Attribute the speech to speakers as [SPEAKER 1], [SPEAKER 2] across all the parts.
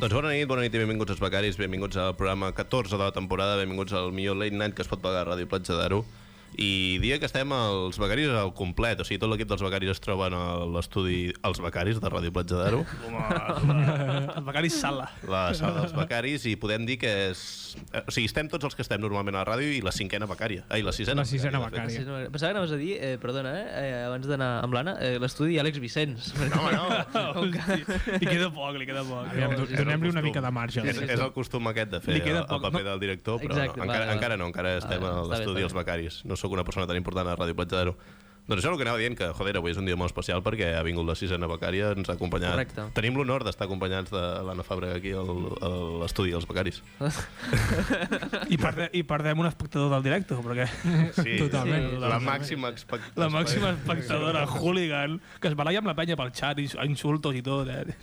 [SPEAKER 1] Doncs bona nit, bona nit i benvinguts als becaris, benvinguts al programa 14 de la temporada, benvinguts al millor late night que es pot pagar a Ràdio Platja d'Aro. I dia que estem els becaris al complet, o sigui, tot l'equip dels becaris es troben a l'estudi Els Becaris de Ràdio Platja d'Aro,
[SPEAKER 2] El becari Sala.
[SPEAKER 1] la sala dels becaris, i podem dir que és... eh, O sigui, estem tots els que estem normalment a la ràdio i la cinquena becària, ai, la sisena.
[SPEAKER 3] La sisena
[SPEAKER 1] de fet.
[SPEAKER 3] becària.
[SPEAKER 4] Sí, no, pensava que anaves a dir, eh, perdona, eh, eh, abans d'anar amb l'Anna, eh, l'estudi Àlex Vicenç.
[SPEAKER 1] No, no,
[SPEAKER 4] Com que-
[SPEAKER 2] I queda poc, li queda poc.
[SPEAKER 3] Aviam,
[SPEAKER 2] No,
[SPEAKER 3] do-
[SPEAKER 2] sí, sí.
[SPEAKER 3] Donem-li una
[SPEAKER 1] costum.
[SPEAKER 3] mica de marge.
[SPEAKER 1] És,
[SPEAKER 2] eh?
[SPEAKER 1] és el costum aquest de fer
[SPEAKER 2] Li queda
[SPEAKER 1] el, el
[SPEAKER 2] poc,
[SPEAKER 1] paper
[SPEAKER 2] no?
[SPEAKER 1] del director, però
[SPEAKER 4] Exacte,
[SPEAKER 1] no,
[SPEAKER 4] va,
[SPEAKER 1] encara,
[SPEAKER 4] va.
[SPEAKER 1] encara no, encara
[SPEAKER 4] Va,
[SPEAKER 1] estem
[SPEAKER 4] va,
[SPEAKER 1] a
[SPEAKER 4] està bé,
[SPEAKER 1] l'estudi
[SPEAKER 4] està
[SPEAKER 1] dels
[SPEAKER 4] bé.
[SPEAKER 1] becaris. No sóc una persona tan important a Ràdio Platja d'Aro. Doncs això és el que anava dient, que, joder, avui és un dia molt especial perquè ha vingut la sisena becària, ens ha acompanyat.
[SPEAKER 4] Correcte.
[SPEAKER 1] Tenim l'honor d'estar acompanyats de l'Anna Fàbrega aquí al- a l'estudi dels becaris.
[SPEAKER 2] I, perde, I perdem un espectador del directe, perquè
[SPEAKER 1] Sí,
[SPEAKER 3] Totalment.
[SPEAKER 1] sí, La màxima expectativa.
[SPEAKER 2] la màxima espectadora hooligan que es baralla amb la penya pel xat i a insultos i tot, eh?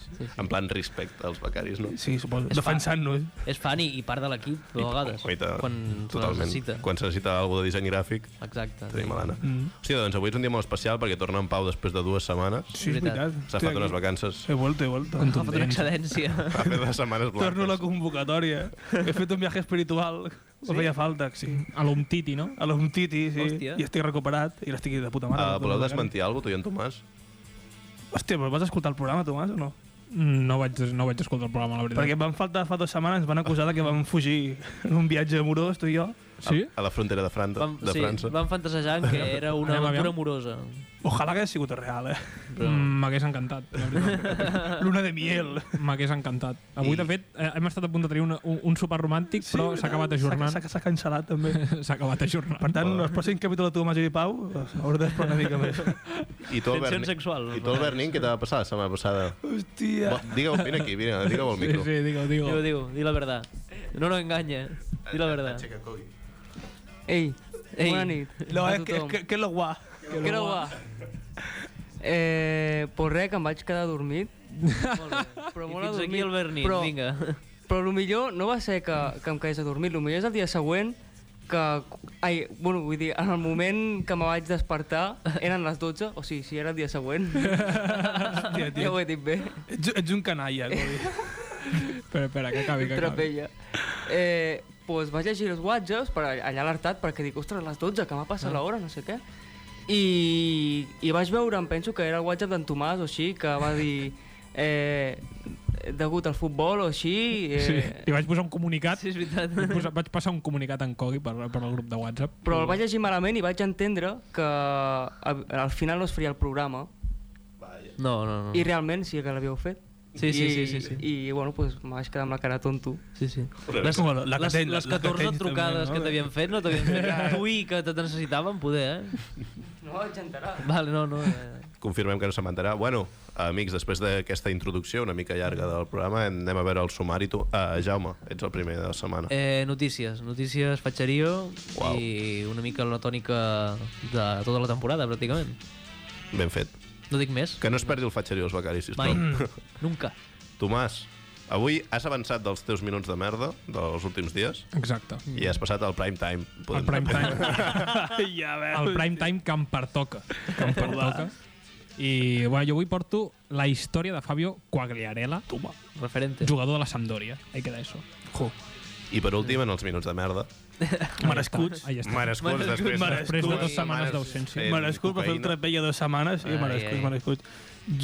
[SPEAKER 1] En plan respecte als becaris, no?
[SPEAKER 2] Sí, suposo. eh?
[SPEAKER 4] És fa-
[SPEAKER 2] Defensant-nos.
[SPEAKER 4] és fan i, i part de l'equip, però a vegades,
[SPEAKER 1] Guaita,
[SPEAKER 4] quan, quan el
[SPEAKER 1] totalment.
[SPEAKER 4] necessita.
[SPEAKER 1] Quan se necessita alguna de disseny gràfic,
[SPEAKER 4] Exacte.
[SPEAKER 1] tenim l'Anna. Mm. Hòstia, doncs avui és un dia molt especial perquè torna en Pau després de dues setmanes.
[SPEAKER 2] Sí, és
[SPEAKER 4] Veritat.
[SPEAKER 2] veritat.
[SPEAKER 1] S'ha
[SPEAKER 2] Estic
[SPEAKER 1] fet unes
[SPEAKER 2] aquí.
[SPEAKER 1] vacances.
[SPEAKER 2] He vuelto, he vuelto.
[SPEAKER 4] Ha fet una excedència.
[SPEAKER 1] Ha fet les setmanes blanques.
[SPEAKER 2] Torno a la convocatòria. He fet un viatge espiritual. Sí? feia falta, sí.
[SPEAKER 3] A l'Umtiti, no?
[SPEAKER 2] A l'Umtiti, sí.
[SPEAKER 4] Hòstia.
[SPEAKER 2] I estic recuperat i l'estic de puta mare.
[SPEAKER 1] Uh, voleu desmentir alguna cosa, tu i en Tomàs?
[SPEAKER 2] Hòstia, però vas escoltar el programa, Tomàs, o no?
[SPEAKER 3] Mm, No vaig, no vaig escoltar el programa, la veritat.
[SPEAKER 2] Perquè van faltar fa dues setmanes, ens van acusar de que vam fugir en un viatge amorós, tu i jo.
[SPEAKER 3] Sí?
[SPEAKER 1] A, a la frontera de, Fran
[SPEAKER 4] Vam,
[SPEAKER 1] de
[SPEAKER 4] sí,
[SPEAKER 1] França.
[SPEAKER 4] vam fantasejant que era una
[SPEAKER 3] Anem,
[SPEAKER 4] aventura
[SPEAKER 3] aviam.
[SPEAKER 4] amorosa.
[SPEAKER 2] Ojalà que hagués sigut real, eh?
[SPEAKER 4] Però...
[SPEAKER 3] Mm, M'hagués encantat, la veritat.
[SPEAKER 2] Luna de miel.
[SPEAKER 3] M'hagués encantat. Avui,
[SPEAKER 1] I-
[SPEAKER 3] de fet, eh, hem estat a punt de tenir un, un, un sopar romàntic, però s'ha acabat ajornant.
[SPEAKER 2] S'ha s'ha cancel·lat, també.
[SPEAKER 3] S'ha acabat
[SPEAKER 2] Per
[SPEAKER 3] ajornant.
[SPEAKER 2] tant, els pròxims capítols de Tomàs i Pau hauré d'esperar una mica més.
[SPEAKER 1] I tu, el
[SPEAKER 4] Tensions
[SPEAKER 1] Berni-
[SPEAKER 4] sexuals,
[SPEAKER 1] I tu, el Bernin, què t'ha passat la setmana passada?
[SPEAKER 2] Hòstia.
[SPEAKER 1] Va, digue-ho, vine aquí, vine, digue-ho al
[SPEAKER 3] Sí,
[SPEAKER 1] micro.
[SPEAKER 3] sí, digue-ho, digue-ho.
[SPEAKER 4] Diu, diu, di la verdad. No no enganya. Di la verdad. Ei.
[SPEAKER 5] Ei, Ei, bona nit.
[SPEAKER 2] No,
[SPEAKER 5] a
[SPEAKER 2] és que, és
[SPEAKER 5] tothom.
[SPEAKER 2] que, que és lo guà.
[SPEAKER 5] Que no va. Eh, pues res, que em vaig quedar adormit.
[SPEAKER 4] Però
[SPEAKER 5] Però
[SPEAKER 4] I
[SPEAKER 5] molt
[SPEAKER 4] fins aquí
[SPEAKER 5] adormit.
[SPEAKER 4] el Berni,
[SPEAKER 5] Però-
[SPEAKER 4] vinga.
[SPEAKER 5] Però el millor no va ser que, que em quedés adormit, el millor és el dia següent que... Ai, bueno, vull dir, en el moment que me vaig despertar eren les 12, o sigui, si era el dia següent.
[SPEAKER 2] Hòstia,
[SPEAKER 5] Ja
[SPEAKER 2] tio.
[SPEAKER 5] ho he dit bé.
[SPEAKER 2] Ets, ets un canalla. vull dir.
[SPEAKER 3] Espera, espera, que acabi, que acabi.
[SPEAKER 5] Trapella. Eh, pues vaig llegir els whatsapps per allà alertat perquè dic, ostres, les 12, que m'ha
[SPEAKER 4] Ah.
[SPEAKER 5] passat l'hora, no sé què. I, I vaig veure, em penso que era el whatsapp d'en Tomàs o així, que va dir... Eh, degut al futbol o així... Eh,
[SPEAKER 3] Sí, li vaig posar un comunicat.
[SPEAKER 4] Sí, és veritat.
[SPEAKER 3] Vaig posar- Vaig passar un comunicat en Cogui per, per al grup de WhatsApp.
[SPEAKER 5] Però el vaig llegir malament i vaig entendre que a, al final no es faria el programa.
[SPEAKER 4] No, no, no.
[SPEAKER 5] I realment sí que l'havíeu fet.
[SPEAKER 4] Ah. Sí, sí,
[SPEAKER 5] I,
[SPEAKER 4] sí, sí, sí.
[SPEAKER 5] I, bueno, pues, me vaig quedar amb la cara tonto.
[SPEAKER 4] Sí, sí.
[SPEAKER 1] Joder,
[SPEAKER 4] Les,
[SPEAKER 2] com la- la que
[SPEAKER 4] les,
[SPEAKER 2] tens,
[SPEAKER 4] les
[SPEAKER 2] la que
[SPEAKER 4] 14
[SPEAKER 2] tens també,
[SPEAKER 4] trucades
[SPEAKER 2] no?
[SPEAKER 4] que t'havien fet, no t'havien fet tu i que te necessitaven poder, eh?
[SPEAKER 5] No vaig enterar.
[SPEAKER 4] Vale, no, no. Eh.
[SPEAKER 1] Confirmem que no se mantarà. Bueno, amics, després d'aquesta introducció una mica llarga del programa, anem a veure el sumari. Tu, uh, Jaume, ets el primer de la setmana.
[SPEAKER 4] Eh, notícies, notícies fatxerio
[SPEAKER 1] Uau.
[SPEAKER 4] i una mica la tònica de tota la temporada, pràcticament.
[SPEAKER 1] Ben fet.
[SPEAKER 4] No dic més.
[SPEAKER 1] Que no es perdi el fatxerí als becaris,
[SPEAKER 4] Mai.
[SPEAKER 1] sisplau.
[SPEAKER 4] Nunca.
[SPEAKER 1] Tomàs, avui has avançat dels teus minuts de merda dels últims dies
[SPEAKER 3] Exacte.
[SPEAKER 1] i has passat al prime time.
[SPEAKER 3] El prime time.
[SPEAKER 2] ja veus.
[SPEAKER 3] el prime time que em pertoca. Que em pertoca. I bueno, jo avui porto la història de Fabio Quagliarella,
[SPEAKER 2] Toma.
[SPEAKER 4] Referente.
[SPEAKER 3] jugador de la Sampdoria. Ahí queda eso.
[SPEAKER 2] Jo.
[SPEAKER 1] I per últim, en els minuts de merda,
[SPEAKER 2] Merescuts.
[SPEAKER 3] Ahí està.
[SPEAKER 1] Merescuts després, de-
[SPEAKER 2] merescuts.
[SPEAKER 3] Després de dues
[SPEAKER 2] Ui,
[SPEAKER 3] setmanes d'absència.
[SPEAKER 1] fent
[SPEAKER 2] Merescut per fer un
[SPEAKER 1] cocaïna.
[SPEAKER 2] trapella dues setmanes i
[SPEAKER 4] Ai,
[SPEAKER 2] merescut,
[SPEAKER 4] ai.
[SPEAKER 2] merescut.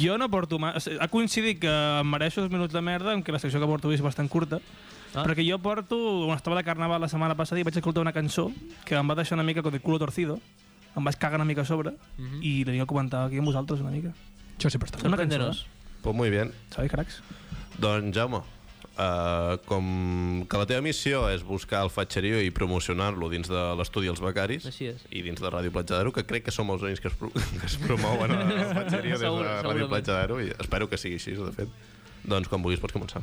[SPEAKER 2] Jo no porto... Ma... o sigui, Ha coincidit que em mereixo els minuts de merda, en què la secció que porto avui és bastant curta,
[SPEAKER 4] Ah.
[SPEAKER 2] ah. perquè jo porto... Quan estava de carnaval la setmana passada i vaig escoltar una cançó que em va deixar una mica com de culo torcido, em vaig cagar una mica a sobre mm -hmm. i l'havia comentat aquí amb vosaltres una mica.
[SPEAKER 3] Això sempre està.
[SPEAKER 2] És una cançó,
[SPEAKER 4] Sorprendenos.
[SPEAKER 2] eh?
[SPEAKER 1] Pues muy bien.
[SPEAKER 2] sabeu, cracs?
[SPEAKER 1] Doncs, Jaume, uh, com que la teva missió és buscar el fatxerio i promocionar-lo dins de l'estudi dels becaris
[SPEAKER 4] Així és.
[SPEAKER 1] i dins de Ràdio Platja d'Aro, que crec que som els únics que es, pro que es promouen el fatxerio des
[SPEAKER 4] Segur-
[SPEAKER 1] de Ràdio
[SPEAKER 4] segurament.
[SPEAKER 1] Platja d'Aro i espero que sigui així, de fet. Doncs quan vulguis pots començar.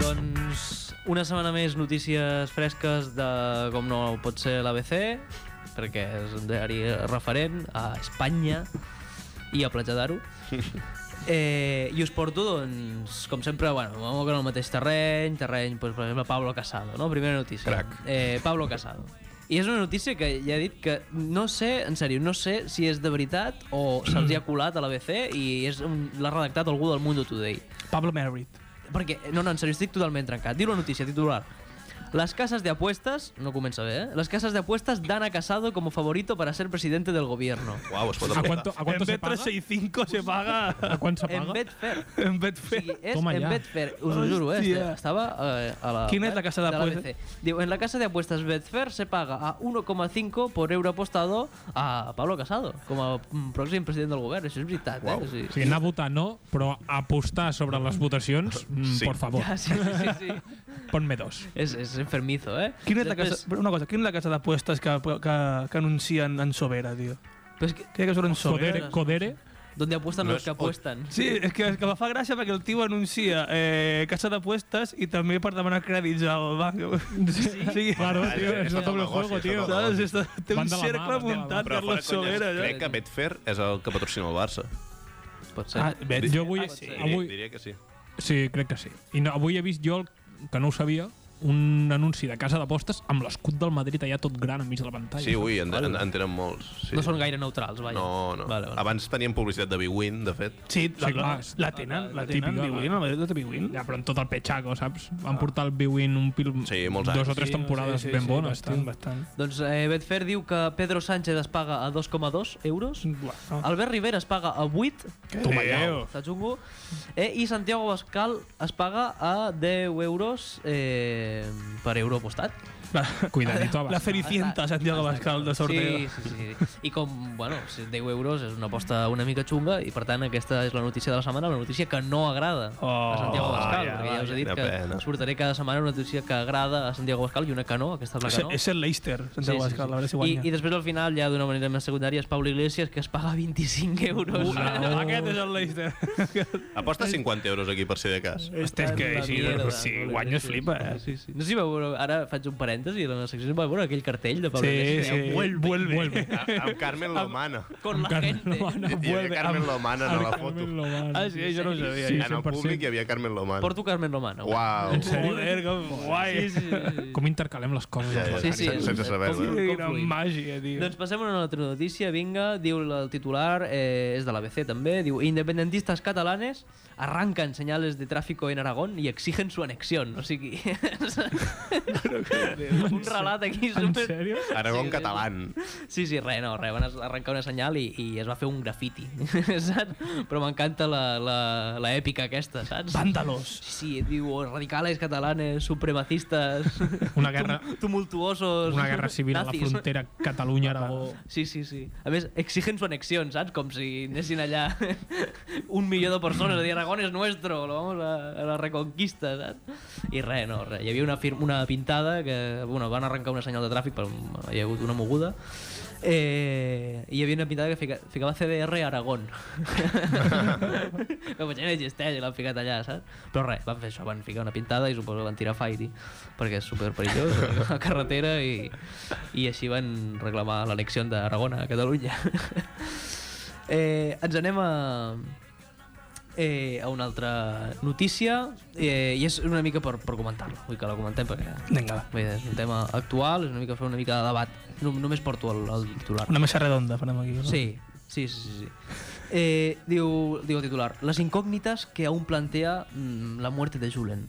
[SPEAKER 4] Doncs una setmana més notícies fresques de com no pot ser l'ABC, perquè és un diari referent a Espanya i a Platja d'Aro. Eh, I us porto, doncs, com sempre, bueno, molt en el mateix terreny, terreny, doncs, per exemple, Pablo Casado, no? Primera notícia.
[SPEAKER 1] Crac.
[SPEAKER 4] Eh, Pablo Casado. I és una notícia que ja he dit que no sé, en sèrio, no sé si és de veritat o se'ls hi ha colat a l'ABC i és un- l'ha redactat algú del Mundo Today.
[SPEAKER 2] Pablo Merritt.
[SPEAKER 4] Perquè, eh, no, no, en sèrio, estic totalment trencat. Diu la notícia, titular. Las casas de apuestas, no comença bé, eh? Las casas de apuestas dan a Casado como favorito para ser presidente del gobierno.
[SPEAKER 1] Uau, es pot
[SPEAKER 3] ¿A
[SPEAKER 1] aplicar.
[SPEAKER 3] cuánto, a cuánto
[SPEAKER 2] en
[SPEAKER 3] se paga?
[SPEAKER 2] 365 se paga
[SPEAKER 3] ¿A cuánto se
[SPEAKER 4] En
[SPEAKER 3] paga?
[SPEAKER 4] Betfair.
[SPEAKER 2] en
[SPEAKER 4] O
[SPEAKER 2] Betfair.
[SPEAKER 4] sigui, és
[SPEAKER 3] Toma
[SPEAKER 4] en
[SPEAKER 3] ja.
[SPEAKER 4] Betfair, us ho juro, eh?
[SPEAKER 2] Hòstia.
[SPEAKER 4] Estava eh, a la...
[SPEAKER 2] Quina és la casa
[SPEAKER 4] de
[SPEAKER 2] d'apuestas?
[SPEAKER 4] l'ABC. Diu, en la casa de apuestas Betfair se paga a 1,5 por euro apostado a Pablo Casado, com a mm, pròxim president del govern. Això és veritat,
[SPEAKER 1] Uau.
[SPEAKER 4] eh? O sigui,
[SPEAKER 3] O sigui, anar a votar no, però apostar sobre les votacions, mm,
[SPEAKER 1] Sí.
[SPEAKER 3] por favor,
[SPEAKER 4] Ja, sí, sí, sí.
[SPEAKER 3] ponme dos.
[SPEAKER 4] és, és enfermizo, eh?
[SPEAKER 2] Quina és la
[SPEAKER 4] Després-
[SPEAKER 2] casa... però Una cosa, quina és la casa d'apuestes que, que, que anuncien en Sobera, tio?
[SPEAKER 4] Però és que,
[SPEAKER 2] Crec que surt en Sobera.
[SPEAKER 3] Codere, codere.
[SPEAKER 4] donde pues, apuestan
[SPEAKER 1] No
[SPEAKER 4] los
[SPEAKER 1] és
[SPEAKER 4] que
[SPEAKER 1] ot-
[SPEAKER 4] apuestan.
[SPEAKER 2] Sí, és que, és que me fa gràcia perquè el tio anuncia eh, casa d'apuestes i també per demanar crèdits al banc. Sí, sí.
[SPEAKER 3] Claro,
[SPEAKER 1] Ah,
[SPEAKER 3] tio,
[SPEAKER 1] és-
[SPEAKER 3] és
[SPEAKER 1] és
[SPEAKER 3] el doble
[SPEAKER 1] el negoci,
[SPEAKER 3] juego,
[SPEAKER 1] és el
[SPEAKER 3] tio.
[SPEAKER 1] negoci.
[SPEAKER 2] Saps? Està, té un
[SPEAKER 3] Van de la mà,
[SPEAKER 2] cercle
[SPEAKER 3] van de la mà.
[SPEAKER 2] muntat
[SPEAKER 1] Però
[SPEAKER 2] per
[SPEAKER 1] fora
[SPEAKER 2] la eh? Sobera.
[SPEAKER 1] conyes,
[SPEAKER 2] Ja.
[SPEAKER 1] crec que Betfair és el que patrocina el Barça.
[SPEAKER 4] Pot ser.
[SPEAKER 2] Ah, veig.
[SPEAKER 3] Jo avui...
[SPEAKER 4] Ah, sí.
[SPEAKER 1] Diria,
[SPEAKER 3] avui
[SPEAKER 1] diria que sí.
[SPEAKER 3] sí, crec que sí. I no, avui he vist jo, el que no ho sabia, un anunci de casa d'apostes amb l'escut del Madrid allà tot gran enmig de la pantalla.
[SPEAKER 1] Sí, ui, en, en, en tenen molts. Sí.
[SPEAKER 4] No són gaire neutrals, vaja.
[SPEAKER 1] No, no. Ah,
[SPEAKER 4] Vale, vale.
[SPEAKER 1] Abans tenien publicitat de Bwin, de fet.
[SPEAKER 2] Sí, la,
[SPEAKER 3] Sí,
[SPEAKER 2] la,
[SPEAKER 3] clar, és-
[SPEAKER 2] la tenen, la tenen.
[SPEAKER 3] típica,
[SPEAKER 2] Big Win, la Madrid de Big Win.
[SPEAKER 3] Ja, però en tot el petxaco, saps? Van portar el Biwin un pil...
[SPEAKER 1] Ah. Sí, molts anys.
[SPEAKER 3] Dos o tres temporades ben bones.
[SPEAKER 2] bastant,
[SPEAKER 3] tio.
[SPEAKER 2] bastant.
[SPEAKER 4] Doncs eh, Betfair diu que Pedro Sánchez es paga a 2,2 euros.
[SPEAKER 2] Buah, no.
[SPEAKER 4] Albert Rivera es paga a 8.
[SPEAKER 3] Toma ja.
[SPEAKER 4] Està xungo. Eh, I Santiago Bascal es paga a 10 euros eh, per euro apostat.
[SPEAKER 2] La,
[SPEAKER 3] Cuidadito,
[SPEAKER 2] la
[SPEAKER 3] abans.
[SPEAKER 2] Cenicienta, Santiago Bascal, de sorteo.
[SPEAKER 4] Sí, sí, sí. I com, bueno, si 10 euros és una aposta una mica xunga i per tant aquesta és la notícia de la setmana, la notícia que no agrada a Santiago Bascal,
[SPEAKER 2] vaja,
[SPEAKER 4] perquè ja us he dit
[SPEAKER 1] vaja.
[SPEAKER 4] que
[SPEAKER 1] Quina pena.
[SPEAKER 4] sortaré cada setmana una notícia que agrada a Santiago Bascal i una que no, aquesta és la
[SPEAKER 2] És,
[SPEAKER 4] que no.
[SPEAKER 2] és el Leicester, Santiago Bascal, a veure si
[SPEAKER 4] I,
[SPEAKER 2] guanya.
[SPEAKER 4] I després al final, ja d'una manera més secundària, és Pablo Iglesias, que es paga 25 euros.
[SPEAKER 2] Ah, Aquest és el Leicester.
[SPEAKER 1] Aposta 50 euros aquí, per si de cas.
[SPEAKER 2] Este és que
[SPEAKER 4] La
[SPEAKER 2] si,
[SPEAKER 4] mierda,
[SPEAKER 2] si
[SPEAKER 4] Pablo
[SPEAKER 2] guanyo es
[SPEAKER 4] Iglesias.
[SPEAKER 2] flipa, eh?
[SPEAKER 4] Sí, sí. No sé si vau veure, ara faig un parèntesi, a la secció va veure aquell cartell de Pablo
[SPEAKER 2] Sí,
[SPEAKER 4] Iglesias.
[SPEAKER 2] sí. Vuelve. Vuelve.
[SPEAKER 1] A- Amb Carmen Lomana.
[SPEAKER 4] Con la
[SPEAKER 3] Carmen
[SPEAKER 4] gente.
[SPEAKER 3] Lomana,
[SPEAKER 1] Hi havia
[SPEAKER 3] vuelve.
[SPEAKER 1] Carmen Lomana a la foto.
[SPEAKER 3] Carmen Lomana.
[SPEAKER 2] Ah, sí, jo no ho sabia.
[SPEAKER 3] Sí,
[SPEAKER 1] en el
[SPEAKER 3] 100%.
[SPEAKER 1] públic hi havia Carmen Lomana.
[SPEAKER 4] Porto Carmen Romana.
[SPEAKER 1] Uau.
[SPEAKER 2] Joder, que guai.
[SPEAKER 4] Sí, sí, sí.
[SPEAKER 3] Com intercalem les coses.
[SPEAKER 1] Ja, ja,
[SPEAKER 4] Sí, sí,
[SPEAKER 1] sense-
[SPEAKER 4] és-
[SPEAKER 1] sense
[SPEAKER 4] és-
[SPEAKER 1] saber-ho. eh?
[SPEAKER 2] Que
[SPEAKER 4] Com
[SPEAKER 2] Quina
[SPEAKER 4] fluït.
[SPEAKER 2] màgia, tio.
[SPEAKER 4] Doncs passem a una altra notícia, vinga, diu la- el titular, eh, és de l'ABC també, diu Independentistes catalanes arrancan señales de tráfico en Aragón y exigen su anexión, o sigui... un relat aquí
[SPEAKER 3] En
[SPEAKER 4] super...
[SPEAKER 3] sèrio?
[SPEAKER 1] Aragón
[SPEAKER 4] Sí,
[SPEAKER 1] catalán.
[SPEAKER 4] Sí, sí, res, no, res, van arrencar una senyal i, i es va fer un grafiti, saps? Però m'encanta la, la, la èpica aquesta, saps?
[SPEAKER 2] Vàndalos.
[SPEAKER 4] Sí, sí, diu, "Oh, radicales catalanes, supremacistas,
[SPEAKER 3] Una guerra,
[SPEAKER 4] tumultuosos,
[SPEAKER 3] una guerra civil a la
[SPEAKER 4] nazis.
[SPEAKER 3] frontera Catalunya-Aragó.
[SPEAKER 4] Sí, sí, sí. A més, exigen su anexión, saps? Com si anessin allà un milió de persones a dir Aragón és nuestro, lo vamos a, a la reconquista, saps? I res, no, res. Hi havia una, fir una pintada que, bueno, van arrencar una senyal de tràfic, però hi ha hagut una moguda. Eh, i hi havia una pintada que fica, ficava CDR Aragón. que potser no existeix i l'han ficat allà, saps? Però res, van fer això, van ficar una pintada i suposo que van tirar Fairy, perquè és super perillós, la carretera, i, i així van reclamar l'anexió d'Aragona a Catalunya. eh, ens anem a, eh, a una altra notícia, eh, i és una mica per, per comentar-la, vull que la comentem perquè...
[SPEAKER 2] Vinga, va.
[SPEAKER 4] Bé, és un tema actual, és una mica fer una mica de debat. No, només porto el, el titular.
[SPEAKER 2] Una mesa redonda farem aquí. No?
[SPEAKER 4] Sí, sí, sí, sí. sí. Eh, diu, diu el titular, les incògnites que aún plantea mm, la muerte de Julen.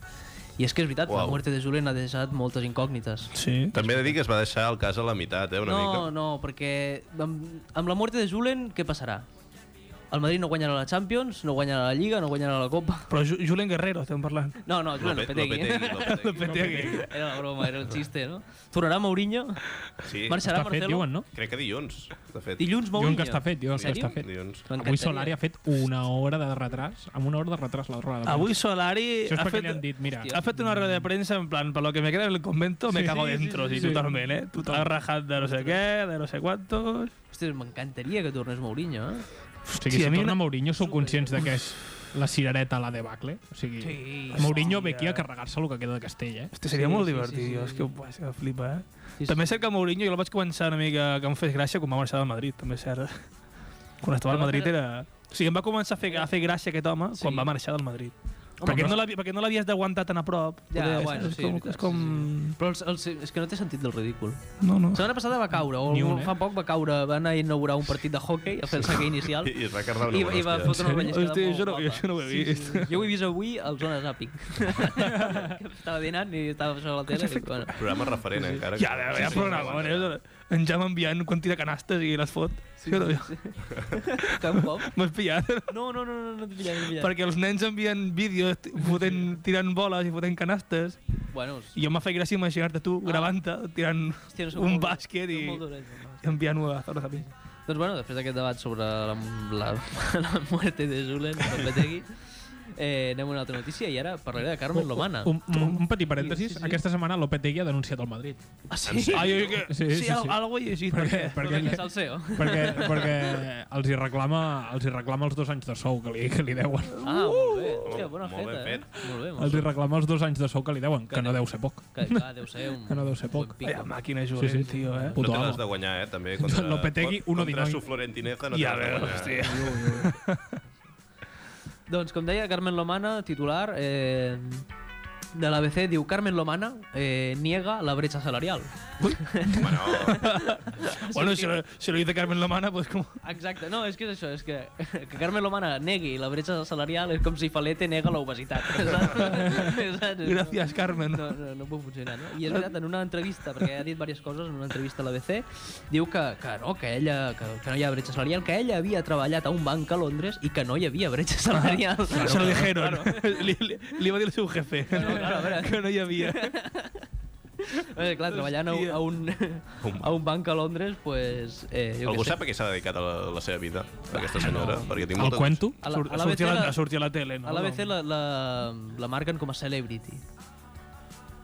[SPEAKER 4] I és que és veritat, wow. la
[SPEAKER 1] Uau.
[SPEAKER 4] muerte de Julen ha deixat moltes incògnites.
[SPEAKER 2] Sí.
[SPEAKER 1] També he de dir que es va deixar el cas a la meitat, eh, una
[SPEAKER 4] no,
[SPEAKER 1] mica.
[SPEAKER 4] no, perquè amb, amb la muerte de Julen, què passarà? El Madrid no guanyarà la Champions, no guanyarà la Lliga, no guanyarà la Copa.
[SPEAKER 2] Però Ju- Julen Guerrero estem parlant.
[SPEAKER 4] No, no, Julen Lopetegui.
[SPEAKER 1] Lopetegui.
[SPEAKER 2] Lopetegui.
[SPEAKER 4] Era una broma, era un xiste, no? Tornarà Mourinho?
[SPEAKER 1] Sí,
[SPEAKER 4] Marxarà
[SPEAKER 3] Està fet,
[SPEAKER 4] Marcelo?
[SPEAKER 3] diuen, no?
[SPEAKER 1] crec que dilluns, de fet.
[SPEAKER 4] Dilluns Mourinho.
[SPEAKER 3] Diuen que està fet, diuen que
[SPEAKER 4] En sèrio?
[SPEAKER 3] està fet.
[SPEAKER 1] Dilluns.
[SPEAKER 4] M'encantaria.
[SPEAKER 3] Avui Solari ha fet una hora de retras, amb una hora de retras la roda de premsa.
[SPEAKER 2] Avui Solari
[SPEAKER 3] Això és
[SPEAKER 2] ha
[SPEAKER 3] perquè
[SPEAKER 2] fet,
[SPEAKER 3] li han dit, mira,
[SPEAKER 2] ha fet una roda de premsa en plan, per lo que me queda en el convento me
[SPEAKER 3] Sí,
[SPEAKER 2] cago
[SPEAKER 3] sí, sí,
[SPEAKER 2] dentro,
[SPEAKER 3] sí,
[SPEAKER 2] sí,
[SPEAKER 3] sí.
[SPEAKER 2] totalment, eh? Tu t'has rajat de no sé què, de no sé cuántos...
[SPEAKER 4] Ostres, m'encantaria que tornés Mourinho, eh?
[SPEAKER 3] o sigui,
[SPEAKER 2] Sí, a
[SPEAKER 3] si
[SPEAKER 2] mi
[SPEAKER 3] torna
[SPEAKER 2] una-
[SPEAKER 3] Mourinho sou conscients de que és la cirereta a la debacle? O sigui,
[SPEAKER 4] Sí.
[SPEAKER 3] Mourinho ve
[SPEAKER 2] Hòstia.
[SPEAKER 3] aquí a carregar-se el que queda de Castell, eh?
[SPEAKER 2] Este seria
[SPEAKER 4] Sí,
[SPEAKER 2] sí, molt
[SPEAKER 4] sí,
[SPEAKER 2] divertit,
[SPEAKER 4] sí, sí,
[SPEAKER 2] sí, sí,
[SPEAKER 4] sí.
[SPEAKER 2] és que, buah, és que flipa, eh?
[SPEAKER 4] Sí,
[SPEAKER 2] Sí,
[SPEAKER 4] sí.
[SPEAKER 2] sí. També és cert que Mourinho jo el vaig començar una mica que em fes gràcia quan va marxar del Madrid, també és cert. Quan estava al
[SPEAKER 4] Però va
[SPEAKER 2] Madrid
[SPEAKER 4] quedar-
[SPEAKER 2] era... O sigui, em va començar a fer, a fer gràcia aquest home
[SPEAKER 4] Sí.
[SPEAKER 2] sí. quan va marxar del Madrid. Home, perquè, no l'havi- perquè no l'havies d'aguantar tan a prop.
[SPEAKER 4] Ja,
[SPEAKER 2] poder,
[SPEAKER 4] bueno,
[SPEAKER 2] és
[SPEAKER 4] sí,
[SPEAKER 2] com,
[SPEAKER 4] veritat,
[SPEAKER 2] és com...
[SPEAKER 4] Però els, els, és que no té sentit del ridícul.
[SPEAKER 2] No, no.
[SPEAKER 4] La setmana passada va caure, o
[SPEAKER 3] Ni un,
[SPEAKER 4] un,
[SPEAKER 3] eh?
[SPEAKER 4] fa poc va caure, va anar a inaugurar un partit de hockey, a fer el saque inicial,
[SPEAKER 1] I es va carregar una
[SPEAKER 4] i, i va
[SPEAKER 1] hòstia.
[SPEAKER 4] fotre una ballescada
[SPEAKER 2] Hòstia, això
[SPEAKER 4] molt
[SPEAKER 2] no,
[SPEAKER 4] guapa.
[SPEAKER 2] això no ho he vist.
[SPEAKER 4] Jo ho he vist avui al Zona Zapping. Que estava dinant i estava sobre la tele. I, dic, bueno,
[SPEAKER 1] Programa referent, encara.
[SPEAKER 2] Ja, ja, ja, però no, eh? en Jaume enviant quan tira canastes i les fot. Sí, sí, sí.
[SPEAKER 4] que un cop.
[SPEAKER 2] M'has pillat?
[SPEAKER 4] No, no, no, no, no t'he pillat, no t'he pillat.
[SPEAKER 2] perquè els nens envien vídeos t- fotent, tirant boles i fotent canastes.
[SPEAKER 4] Bueno, és-
[SPEAKER 2] I jo m'ha fet gràcia imaginar-te tu gravant-te, tirant
[SPEAKER 4] hòstia, no soc
[SPEAKER 2] un
[SPEAKER 4] molt-
[SPEAKER 2] bàsquet
[SPEAKER 4] soc
[SPEAKER 2] i,
[SPEAKER 4] molt dolent, no.
[SPEAKER 2] i enviant-ho a Zona Zapping.
[SPEAKER 4] Doncs bueno, després d'aquest debat sobre la, la, la muerte de Julen Lopetegui, eh, anem a una altra notícia i ara parlaré de Carmen Lomana.
[SPEAKER 3] Un, un, un petit parèntesis,
[SPEAKER 4] Sí,
[SPEAKER 3] sí,
[SPEAKER 4] sí.
[SPEAKER 3] sí. aquesta setmana Lopetegui ha denunciat el Madrid.
[SPEAKER 4] Ah, sí?
[SPEAKER 2] Ai, ai, que...
[SPEAKER 3] Sí,
[SPEAKER 2] Sí,
[SPEAKER 3] sí,
[SPEAKER 2] sí,
[SPEAKER 3] sí.
[SPEAKER 2] al- algo he llegit.
[SPEAKER 3] Perquè,
[SPEAKER 2] perquè-
[SPEAKER 3] perquè,
[SPEAKER 4] Vinga, Salseo.
[SPEAKER 3] perquè, perquè els, hi reclama, els hi reclama els dos anys de sou que li, que li deuen.
[SPEAKER 4] Ah, molt bé. Hòstia,
[SPEAKER 1] Molt-
[SPEAKER 4] bona
[SPEAKER 1] molt ben
[SPEAKER 4] feta, eh? Molt bé, molt
[SPEAKER 3] Els
[SPEAKER 4] bé.
[SPEAKER 3] hi reclama els dos anys de sou que li deuen, que no deu ser poc.
[SPEAKER 4] Que, clar, deu ser un...
[SPEAKER 3] Que no deu ser
[SPEAKER 4] un
[SPEAKER 3] poc.
[SPEAKER 4] bon pico.
[SPEAKER 2] Vaya màquina
[SPEAKER 3] Sí,
[SPEAKER 2] jugant,
[SPEAKER 3] sí.
[SPEAKER 2] sí, sí. tio, eh?
[SPEAKER 1] No
[SPEAKER 3] Puto
[SPEAKER 1] te l'has de
[SPEAKER 3] amo.
[SPEAKER 1] guanyar, eh, també. Contra,
[SPEAKER 3] Lopetegui, uno
[SPEAKER 1] contra
[SPEAKER 3] dinoi.
[SPEAKER 1] su Florentineza no
[SPEAKER 2] I a
[SPEAKER 1] te
[SPEAKER 2] veure,
[SPEAKER 1] l'has de guanyar.
[SPEAKER 2] hòstia.
[SPEAKER 4] Doncs, com deia Carmen Lomana, titular eh, de l'ABC, diu Carmen Lomana eh, niega la bretxa salarial.
[SPEAKER 1] Bueno,
[SPEAKER 2] Bueno, si lo, si lo dice Carmen Lomana, pues com...
[SPEAKER 4] Exacte, no, és que és això, és que, que Carmen Lomana negui la bretxa salarial és com si Falete nega l'obesitat. saps? Saps?
[SPEAKER 2] Gràcies, Carmen.
[SPEAKER 4] No, no, no pot funcionar, no? I és veritat, en una entrevista, perquè ha dit diverses coses en una entrevista a l'ABC, diu que, que no, que ella, que, que no hi ha bretxa salarial, que ella havia treballat a un banc a Londres i que no hi havia bretxa salarial.
[SPEAKER 2] Se lo dijeron. Li, li, li va dir el seu jefe.
[SPEAKER 4] claro, a veure.
[SPEAKER 2] que no hi havia.
[SPEAKER 4] Eh, clar, treballant a, un- a, un, a un banc a Londres, pues, eh, jo
[SPEAKER 1] algú
[SPEAKER 4] què sé.
[SPEAKER 1] sap a què s'ha Ah, dedicat a la, la seva vida, aquesta senyora? Perquè tinc
[SPEAKER 3] El
[SPEAKER 1] molta...
[SPEAKER 3] cuento?
[SPEAKER 4] A la-
[SPEAKER 2] Sur-
[SPEAKER 4] a la
[SPEAKER 2] sortia, a
[SPEAKER 4] ABC
[SPEAKER 2] la,
[SPEAKER 4] la-
[SPEAKER 2] sortia a la tele, no?
[SPEAKER 4] A l'ABC la, la, la marquen com a celebrity,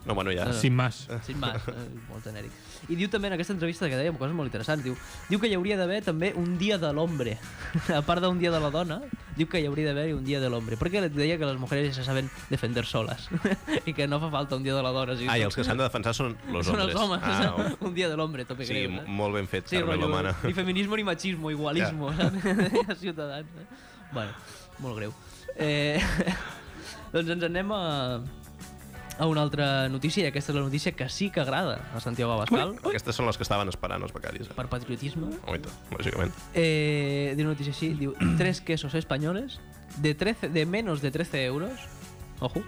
[SPEAKER 1] No, bueno,
[SPEAKER 4] Ah,
[SPEAKER 1] ja.
[SPEAKER 3] Sin más.
[SPEAKER 4] sin más, eh, molt genèric. I diu també en aquesta entrevista que dèiem coses molt interessants, diu, diu que hi hauria d'haver també un dia de l'hombre, a part d'un dia de la dona, diu que hi hauria d'haver un dia de l'hombre, perquè deia que les mujeres se saben defender soles i que no fa falta un dia de la dona. Si
[SPEAKER 1] Ah, i els que s'han de defensar són los
[SPEAKER 4] són
[SPEAKER 1] hombres.
[SPEAKER 4] els homes,
[SPEAKER 1] Ah,
[SPEAKER 4] ah, un dia de l'hombre, tope
[SPEAKER 1] sí,
[SPEAKER 4] greu.
[SPEAKER 1] m-
[SPEAKER 4] eh?
[SPEAKER 1] molt ben fet,
[SPEAKER 4] Sí,
[SPEAKER 1] Carmen
[SPEAKER 4] rotllo,
[SPEAKER 1] Lomana.
[SPEAKER 4] ni feminismo ni machismo, igualismo, ja. saps? A Ciutadans. Eh? Bueno, molt greu. Eh, doncs ens anem a, a una altra notícia, i aquesta és la notícia que sí que agrada a Santiago Abascal,
[SPEAKER 1] Aquestes són les que estaven esperant els becaris. Eh?
[SPEAKER 4] per patriotisme.
[SPEAKER 1] Oh, i tant, lògicament.
[SPEAKER 4] Eh, diu una notícia així, diu, tres quesos españoles de, 13, de menos de 13 euros, ojo,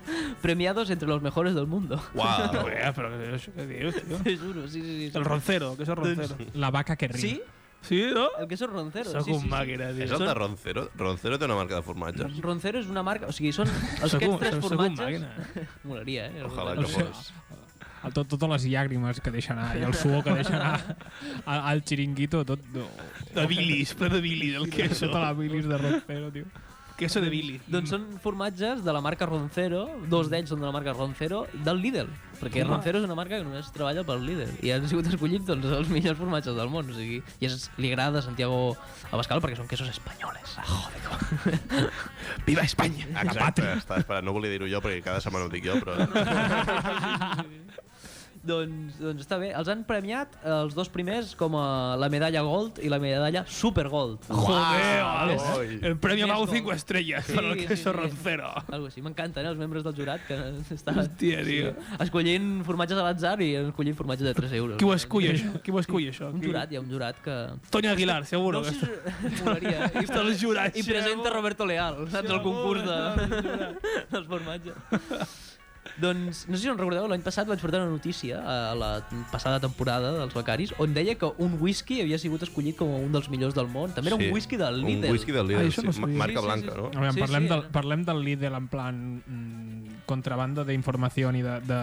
[SPEAKER 4] premiados entre los mejores del mundo.
[SPEAKER 1] Uau!
[SPEAKER 2] Ué, però què, això què dius, tio?
[SPEAKER 4] Te juro, sí, sí, sí.
[SPEAKER 2] El roncero, que és el roncero.
[SPEAKER 3] La vaca que ríe.
[SPEAKER 4] Sí?
[SPEAKER 2] Sí, no?
[SPEAKER 4] El queso roncero.
[SPEAKER 2] Sóc
[SPEAKER 4] sí, sí,
[SPEAKER 2] un
[SPEAKER 4] sí.
[SPEAKER 2] màquina, tio.
[SPEAKER 1] és el de Roncero? Roncero té una marca de formatges.
[SPEAKER 4] Doncs
[SPEAKER 2] Doncs
[SPEAKER 4] Roncero és una marca... O sigui, són els
[SPEAKER 2] Sóc
[SPEAKER 4] aquests
[SPEAKER 2] un-
[SPEAKER 4] tres
[SPEAKER 2] sóc un
[SPEAKER 4] formatges...
[SPEAKER 2] màquina.
[SPEAKER 4] Molaria, eh?
[SPEAKER 1] Ojalà
[SPEAKER 4] El
[SPEAKER 1] que
[SPEAKER 4] Roncero.
[SPEAKER 1] fos.
[SPEAKER 3] El, tot, totes les llàgrimes que deixa anar i el suor que deixa anar al, al xiringuito, tot... No.
[SPEAKER 2] De bilis, ple de bilis, el queso.
[SPEAKER 3] Tota la bilis de rompero, tio.
[SPEAKER 2] Queso de bilis.
[SPEAKER 4] Doncs són formatges de la marca Roncero, dos d'ells són de la marca Roncero, del Lidl. Perquè
[SPEAKER 2] Home.
[SPEAKER 4] Roncero és una marca que només treballa pel Lidl. I han sigut escollits doncs, els millors formatges del món. O sigui, I és, li agrada a Santiago Abascal perquè són quesos espanyoles. Ah, joder, com...
[SPEAKER 2] Viva Espanya!
[SPEAKER 1] Exacte, estava esperant. No volia dir-ho jo perquè cada setmana ho dic jo, però...
[SPEAKER 4] doncs, doncs està bé. Els han premiat eh, els dos primers com a la medalla Gold i la medalla Super Gold.
[SPEAKER 2] Joder,
[SPEAKER 1] Uau.
[SPEAKER 2] vale. el premio
[SPEAKER 4] Més
[SPEAKER 2] Mau
[SPEAKER 4] gol.
[SPEAKER 2] 5 estrelles
[SPEAKER 4] Sí,
[SPEAKER 2] per al
[SPEAKER 4] sí,
[SPEAKER 2] queso
[SPEAKER 4] sí.
[SPEAKER 2] roncero.
[SPEAKER 4] Algo així. M'encanten eh, els membres del jurat que estan...
[SPEAKER 2] Hòstia, tio.
[SPEAKER 4] escollint formatges a l'atzar i escollint formatges de 3 euros.
[SPEAKER 2] Qui ho escull, això? Qui ho escull, això?
[SPEAKER 4] Un
[SPEAKER 2] Qui?
[SPEAKER 4] jurat, hi ha un jurat que...
[SPEAKER 2] Toño Aguilar, seguro.
[SPEAKER 4] No sé si molaria. I,
[SPEAKER 2] Està el jurat,
[SPEAKER 4] eh? I presenta Roberto Leal, saps? El concurs de... dels formatges. doncs, no sé si us en recordeu, l'any passat vaig portar una notícia a la passada temporada dels Becaris on deia que un whisky havia sigut escollit com un dels millors del món. També era un whisky del Lidl.
[SPEAKER 1] Un whisky del Lidl,
[SPEAKER 2] Ah, això
[SPEAKER 1] sí.
[SPEAKER 2] no sabia.
[SPEAKER 1] ma- Marca
[SPEAKER 4] Sí, sí,
[SPEAKER 1] blanca,
[SPEAKER 4] sí.
[SPEAKER 1] no?
[SPEAKER 3] A veure,
[SPEAKER 4] Sí,
[SPEAKER 3] sí, parlem,
[SPEAKER 4] sí,
[SPEAKER 3] sí, del,
[SPEAKER 4] era.
[SPEAKER 3] parlem del Lidl en plan mm, contrabanda d'informació i de... de,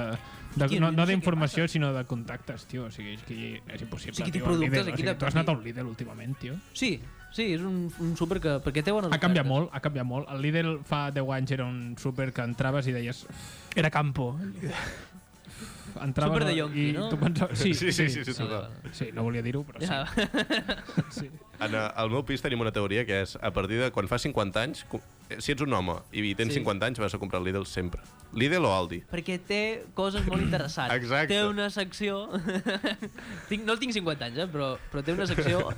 [SPEAKER 3] de
[SPEAKER 4] Tio, no
[SPEAKER 3] no, no
[SPEAKER 4] sé
[SPEAKER 3] d'informació, sinó de contactes, tio. O sigui, és, que és impossible,
[SPEAKER 4] O sigui, té
[SPEAKER 3] tio, el
[SPEAKER 4] productes
[SPEAKER 3] Lidl.
[SPEAKER 4] aquí
[SPEAKER 3] o
[SPEAKER 4] de-
[SPEAKER 3] sigui, tu has anat a un Lidl últimament, tio.
[SPEAKER 4] Sí, sí, és un, un súper que... Perquè té bones
[SPEAKER 3] Ha canviat
[SPEAKER 4] ofertes.
[SPEAKER 3] molt, ha canviat molt. El Lidl fa 10 anys era un súper que entraves i deies...
[SPEAKER 2] Era Campo.
[SPEAKER 3] Entraves
[SPEAKER 4] Súper de
[SPEAKER 3] i-
[SPEAKER 4] yonqui,
[SPEAKER 3] i
[SPEAKER 4] no?
[SPEAKER 3] Tu pensaves, sí, sí, sí, sí, sí,
[SPEAKER 1] total.
[SPEAKER 3] sí, no volia dir-ho, però sí.
[SPEAKER 4] Ja,
[SPEAKER 3] sí.
[SPEAKER 1] En, eh, al meu pis tenim una teoria que és, a partir de quan fas 50 anys, com- eh, si ets un home i tens sí.
[SPEAKER 4] Sí.
[SPEAKER 1] 50 anys, vas a comprar Lidl sempre. Lidl o Aldi?
[SPEAKER 4] perquè té coses molt interessants.
[SPEAKER 1] Exacte.
[SPEAKER 4] Té una secció... tinc, no tinc 50 anys, eh? però, però té una secció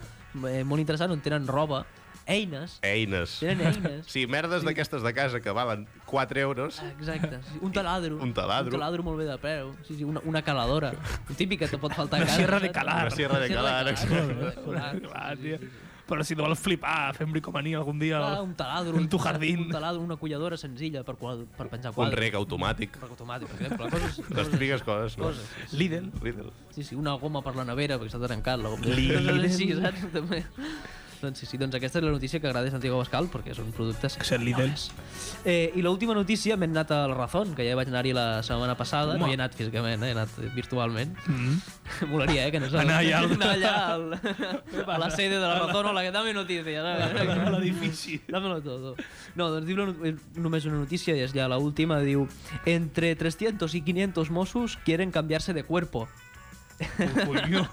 [SPEAKER 4] eh, molt interessant on tenen roba eines.
[SPEAKER 1] Eines.
[SPEAKER 4] Tenen eines.
[SPEAKER 1] Sí, merdes d'aquestes de casa que valen 4 euros.
[SPEAKER 4] Ah, Exacte. sí, Un taladro.
[SPEAKER 1] Un taladro.
[SPEAKER 4] Un taladro molt bé de preu. Sí, sí, una, una caladora. Un típic que te pot faltar a casa.
[SPEAKER 2] sierra de
[SPEAKER 4] saps?
[SPEAKER 2] calar.
[SPEAKER 1] Una sierra de calar,
[SPEAKER 4] exacte.
[SPEAKER 2] Clar, tio. Però si no vols flipar, fem bricomania algun dia...
[SPEAKER 4] Clar, Ah, un taladro.
[SPEAKER 2] En tu jardín.
[SPEAKER 4] Un taladro, una colladora senzilla per, quadre, per penjar
[SPEAKER 1] Un
[SPEAKER 4] quadres.
[SPEAKER 1] rec automàtic.
[SPEAKER 4] rec automàtic, per exemple. Coses,
[SPEAKER 1] Les
[SPEAKER 4] coses,
[SPEAKER 1] típiques coses, no?
[SPEAKER 4] coses.
[SPEAKER 2] Lidl.
[SPEAKER 1] Lidl.
[SPEAKER 4] Sí, sí, una goma per la nevera, perquè s'ha trencat la goma.
[SPEAKER 2] Lidl.
[SPEAKER 4] Sí, saps? També. Doncs sí, sí, doncs aquesta és la notícia que agrada a Santiago Bascal, perquè són productes...
[SPEAKER 2] Que ser Lidl.
[SPEAKER 4] Eh, I l'última notícia, m'he anat a la Razón, que ja vaig anar-hi la setmana passada. No
[SPEAKER 2] Home.
[SPEAKER 4] hi he anat físicament, eh, he anat virtualment.
[SPEAKER 2] Mm.
[SPEAKER 4] Molaria, eh, que nosaltres...
[SPEAKER 2] Anar allà al-
[SPEAKER 4] Anar allà al... a la sede de la Razón, hola, que dame notícia.
[SPEAKER 2] A
[SPEAKER 4] ¿sabes?
[SPEAKER 2] l'edifici.
[SPEAKER 4] Dámelo todo. No, doncs diu la no- eh, només una notícia, i és ja l'última, diu Entre 300 i 500 Mossos quieren cambiarse de cuerpo.
[SPEAKER 2] Colló.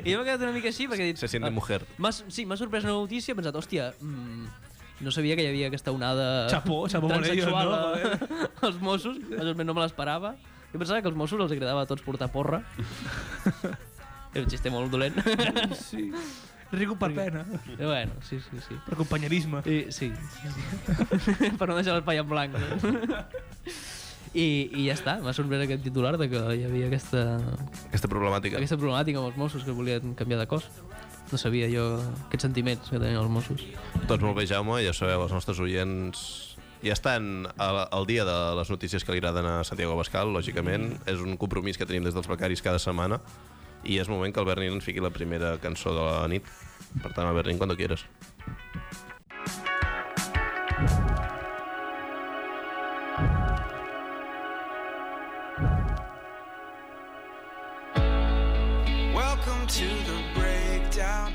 [SPEAKER 4] I jo m'he quedat una mica així perquè he dit...
[SPEAKER 1] Se siente
[SPEAKER 4] "Ah,
[SPEAKER 1] mujer.
[SPEAKER 4] M'ha, sí, m'ha sorprès la notícia, he pensat, hòstia, mm, no sabia que hi havia aquesta onada
[SPEAKER 2] Chapó, chapó por ellos,
[SPEAKER 4] transsexual
[SPEAKER 2] no?
[SPEAKER 4] a- als Mossos, m'ha sorprès, no me l'esperava. Jo pensava que als Mossos els agradava a tots portar porra. Era un xiste molt dolent.
[SPEAKER 2] Sí. Rico per pena.
[SPEAKER 4] Però bueno, sí, sí, sí.
[SPEAKER 2] Per companyerisme.
[SPEAKER 4] I, sí, sí. per no deixar l'espai en blanc. No? I, I ja està, m'ha sorprès aquest titular de que hi havia aquesta,
[SPEAKER 1] Aquesta problemàtica.
[SPEAKER 4] aquesta problemàtica amb els Mossos que volien canviar de cos. No sabia jo aquests sentiments que tenien els Mossos.
[SPEAKER 1] Doncs molt bé, Jaume, ja sabeu, els nostres oients ja estan al, al dia de les notícies que li agraden a Santiago Bascal, lògicament. És un compromís que tenim des dels becaris cada setmana i és moment que el Bernin ens fiqui la primera cançó de la nit. Per tant, el Bernin, quan quieras.
[SPEAKER 6] Welcome to the breakdown.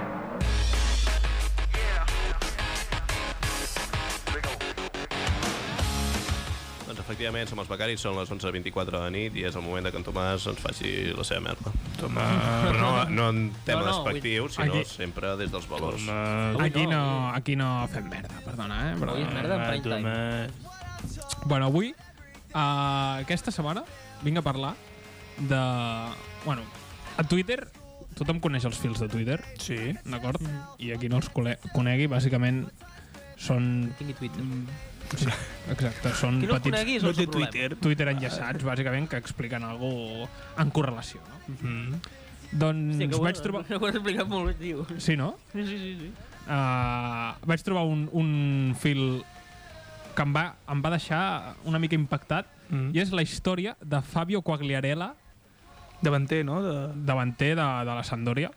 [SPEAKER 1] Doncs efectivament, som els becaris, són les 11.24 de la nit i és el moment de que en Tomàs ens faci la seva merda. Toma... Però no, no en tema
[SPEAKER 4] No, no,
[SPEAKER 1] despectiu, sinó
[SPEAKER 3] Aquí.
[SPEAKER 1] sempre des dels valors.
[SPEAKER 3] Aquí no, aquí no fem merda, perdona, eh? Però...
[SPEAKER 4] Avui és merda en prime time.
[SPEAKER 3] Bueno, avui, uh, aquesta setmana, vinc a parlar de... Bueno, a Twitter, tothom coneix els fils de Twitter,
[SPEAKER 2] Sí.
[SPEAKER 3] d'acord?
[SPEAKER 4] Mm.
[SPEAKER 3] I a qui no els cole- conegui, bàsicament, són...
[SPEAKER 4] Tingui Twitter.
[SPEAKER 3] Sí, exacte, són
[SPEAKER 4] Qui no els
[SPEAKER 3] petits...
[SPEAKER 4] conegui és
[SPEAKER 2] No
[SPEAKER 4] el
[SPEAKER 2] té
[SPEAKER 4] seu problema.
[SPEAKER 2] Twitter.
[SPEAKER 3] Twitter enllaçats, bàsicament, que expliquen alguna cosa en correlació, no?
[SPEAKER 2] Mm.
[SPEAKER 3] Doncs
[SPEAKER 4] Hòstia, Mm-hmm. que ho,
[SPEAKER 3] vaig trobar...
[SPEAKER 4] Ho has explicat molt bé, tio.
[SPEAKER 3] Sí, no?
[SPEAKER 4] Sí, sí, sí. sí.
[SPEAKER 3] uh, vaig trobar un, un fil que em va, em va deixar una mica impactat
[SPEAKER 2] Mm.
[SPEAKER 3] i és la història de Fabio Quagliarella,
[SPEAKER 2] Davanter, no? De...
[SPEAKER 3] davanter de, de la Sampdoria.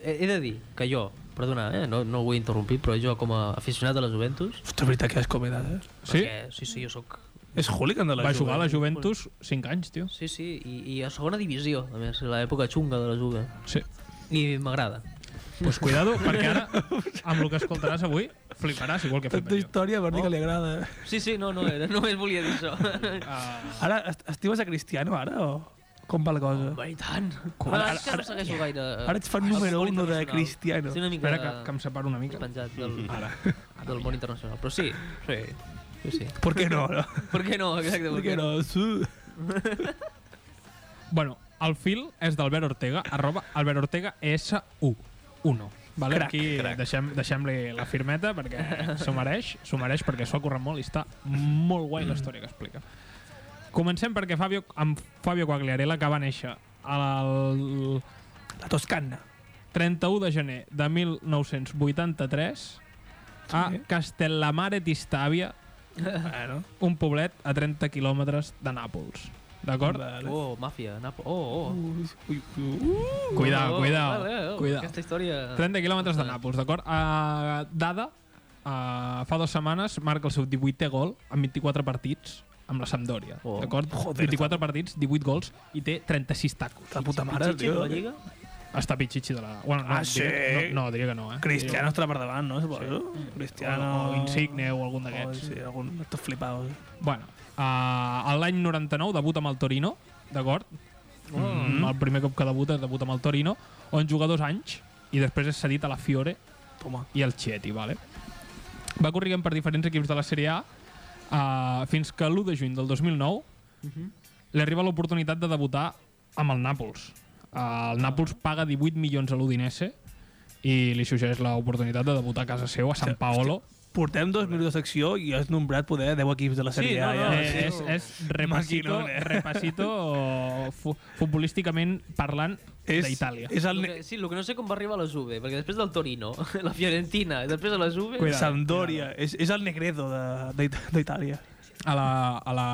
[SPEAKER 4] Eh, He, he de dir que jo, perdona, eh, no, no ho vull interrompir, però jo com a aficionat a la Juventus,
[SPEAKER 2] Hòstia, veritat que és com edat, eh?
[SPEAKER 3] Sí?
[SPEAKER 4] perquè sí, sí, jo sóc...
[SPEAKER 2] És hooligan de la
[SPEAKER 3] va
[SPEAKER 2] Juve.
[SPEAKER 3] jugar a la Juventus 5 anys, tio.
[SPEAKER 4] Sí, sí, i, i a segona divisió, a més, l'època xunga de la Juga.
[SPEAKER 3] Sí.
[SPEAKER 4] I m'agrada.
[SPEAKER 3] Pues cuidado, perquè ara, amb el que escoltaràs avui, fliparàs igual que he fet
[SPEAKER 2] Tanta
[SPEAKER 3] jo.
[SPEAKER 2] història, Berni, que li agrada. eh?
[SPEAKER 4] Sí, sí, no, no era, només volia dir això.
[SPEAKER 3] Uh,
[SPEAKER 2] Ara, est- estimes a Cristiano, ara, o com va la cosa?
[SPEAKER 4] Bé, i tant.
[SPEAKER 2] Quan-
[SPEAKER 4] Ara,
[SPEAKER 2] ara-
[SPEAKER 4] és que no segueixo gaire...
[SPEAKER 2] Ara ets fan número
[SPEAKER 4] el futbol
[SPEAKER 2] uno de
[SPEAKER 4] internacional.
[SPEAKER 2] Cristiano.
[SPEAKER 4] Estic una mica
[SPEAKER 3] espera que, que em separo una mica.
[SPEAKER 4] penjat del,
[SPEAKER 3] Ara.
[SPEAKER 4] del món internacional. Però sí, sí, sí, sí.
[SPEAKER 2] Per què no? no?
[SPEAKER 4] Per què no? Exacte,
[SPEAKER 2] Per què no? Sí.
[SPEAKER 3] Bueno, el fil és d'Albert Ortega, arroba Albert Ortega S1. 1. Vale,
[SPEAKER 2] Crac,
[SPEAKER 3] aquí
[SPEAKER 1] crac.
[SPEAKER 3] deixem, deixem-li la firmeta perquè s'ho mereix, s'ho mereix perquè s'ho ha currat molt i està molt guai la història que explica. Comencem perquè Fabio, amb Fabio Quagliarella, que va néixer el
[SPEAKER 2] La Toscana.
[SPEAKER 3] 31 de gener de 1983 a
[SPEAKER 2] Sí.
[SPEAKER 3] Castellamare d'Istàvia,
[SPEAKER 2] Bueno,
[SPEAKER 3] un poblet a 30 quilòmetres de Nàpols. D'acord?
[SPEAKER 2] vale.
[SPEAKER 4] Oh, màfia, Napo. Oh,
[SPEAKER 3] Uh,
[SPEAKER 4] oh.
[SPEAKER 2] Ui, ui, ui.
[SPEAKER 3] Cuidao,
[SPEAKER 4] Oh,
[SPEAKER 3] cuidao,
[SPEAKER 4] vale, oh,
[SPEAKER 3] cuidao.
[SPEAKER 4] Aquesta història...
[SPEAKER 3] 30 quilòmetres de Nàpols, d'acord? Uh, Dada, uh, fa dues setmanes, marca el seu 18è gol en 24 partits amb la Sampdoria,
[SPEAKER 4] Oh.
[SPEAKER 3] d'acord? 24 partits, 18 gols i té 36 tacos.
[SPEAKER 2] La puta mare,
[SPEAKER 4] Pichichi de
[SPEAKER 2] tio.
[SPEAKER 4] la Lliga?
[SPEAKER 3] Està pitxitxi de la... Bueno, no,
[SPEAKER 2] Ah,
[SPEAKER 3] diria-
[SPEAKER 2] sí?
[SPEAKER 3] no, no, diria que no, eh?
[SPEAKER 2] Cristiano estarà per davant, no? Suposo.
[SPEAKER 3] Diria-
[SPEAKER 2] Cristiano...
[SPEAKER 3] O, o Insigne o algun
[SPEAKER 2] Oh,
[SPEAKER 3] d'aquests.
[SPEAKER 2] sí, algun... Estàs flipat.
[SPEAKER 3] eh, Bueno, uh, l'any 99 debuta amb el Torino, d'acord? Mm. El primer cop que debuta, debuta amb el Torino, on juga dos anys i després és cedit a la Fiore Toma. i al Chieti, vale? Va corriguent per diferents equips de la Sèrie A uh, fins que l'1 de juny del 2009 li arriba l'oportunitat de debutar amb el Nàpols. Uh, el Nàpols paga 18 milions a l'Udinese i li suggereix l'oportunitat de debutar a casa seu, a San Paolo.
[SPEAKER 2] Portem dos minuts de secció i has nombrat poder 10 equips de la Sèrie A.
[SPEAKER 4] no, no,
[SPEAKER 2] ja.
[SPEAKER 3] Eh, és, és repasito,
[SPEAKER 2] Maquinone.
[SPEAKER 3] repasito o fu futbolísticament parlant d'Itàlia.
[SPEAKER 2] És el...
[SPEAKER 4] El que, sí, el que no sé com va arribar a les UB, perquè després del Torino, la Fiorentina, i després a les UB...
[SPEAKER 3] Cuidado.
[SPEAKER 2] Sampdoria. És, és el Negredo de- d'It- d'Itàlia.
[SPEAKER 3] A la, a la,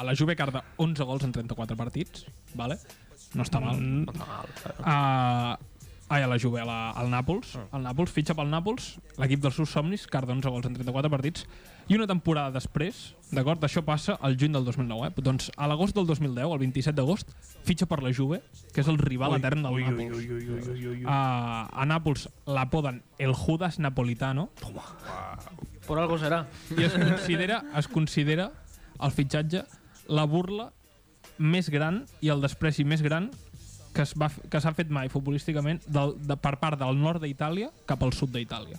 [SPEAKER 3] a la Juve carda 11 gols en 34 partits, vale? no està mal. Mm.
[SPEAKER 4] No, mal.
[SPEAKER 3] Uh, ai, a la Juve, a la, al Nàpols.
[SPEAKER 2] Ah.
[SPEAKER 3] El Nàpols fitxa pel Nàpols, l'equip dels seus somnis, carda 11 gols en 34 partits, i una temporada després, d'acord, això passa al juny del 2009, eh? doncs a l'agost del 2010, el 27 d'agost, fitxa per la Juve, que és el rival etern del Nàpols.
[SPEAKER 2] ui, ui, ui, ui, ui.
[SPEAKER 3] Uh, a Nàpols l'apoden el Judas Napolitano,
[SPEAKER 4] Per algo serà.
[SPEAKER 3] i es considera, es considera el fitxatge la burla més gran i el despreci més gran que es va f- que s'ha fet mai futbolísticament del, de, per part del nord d'Itàlia cap al sud d'Itàlia.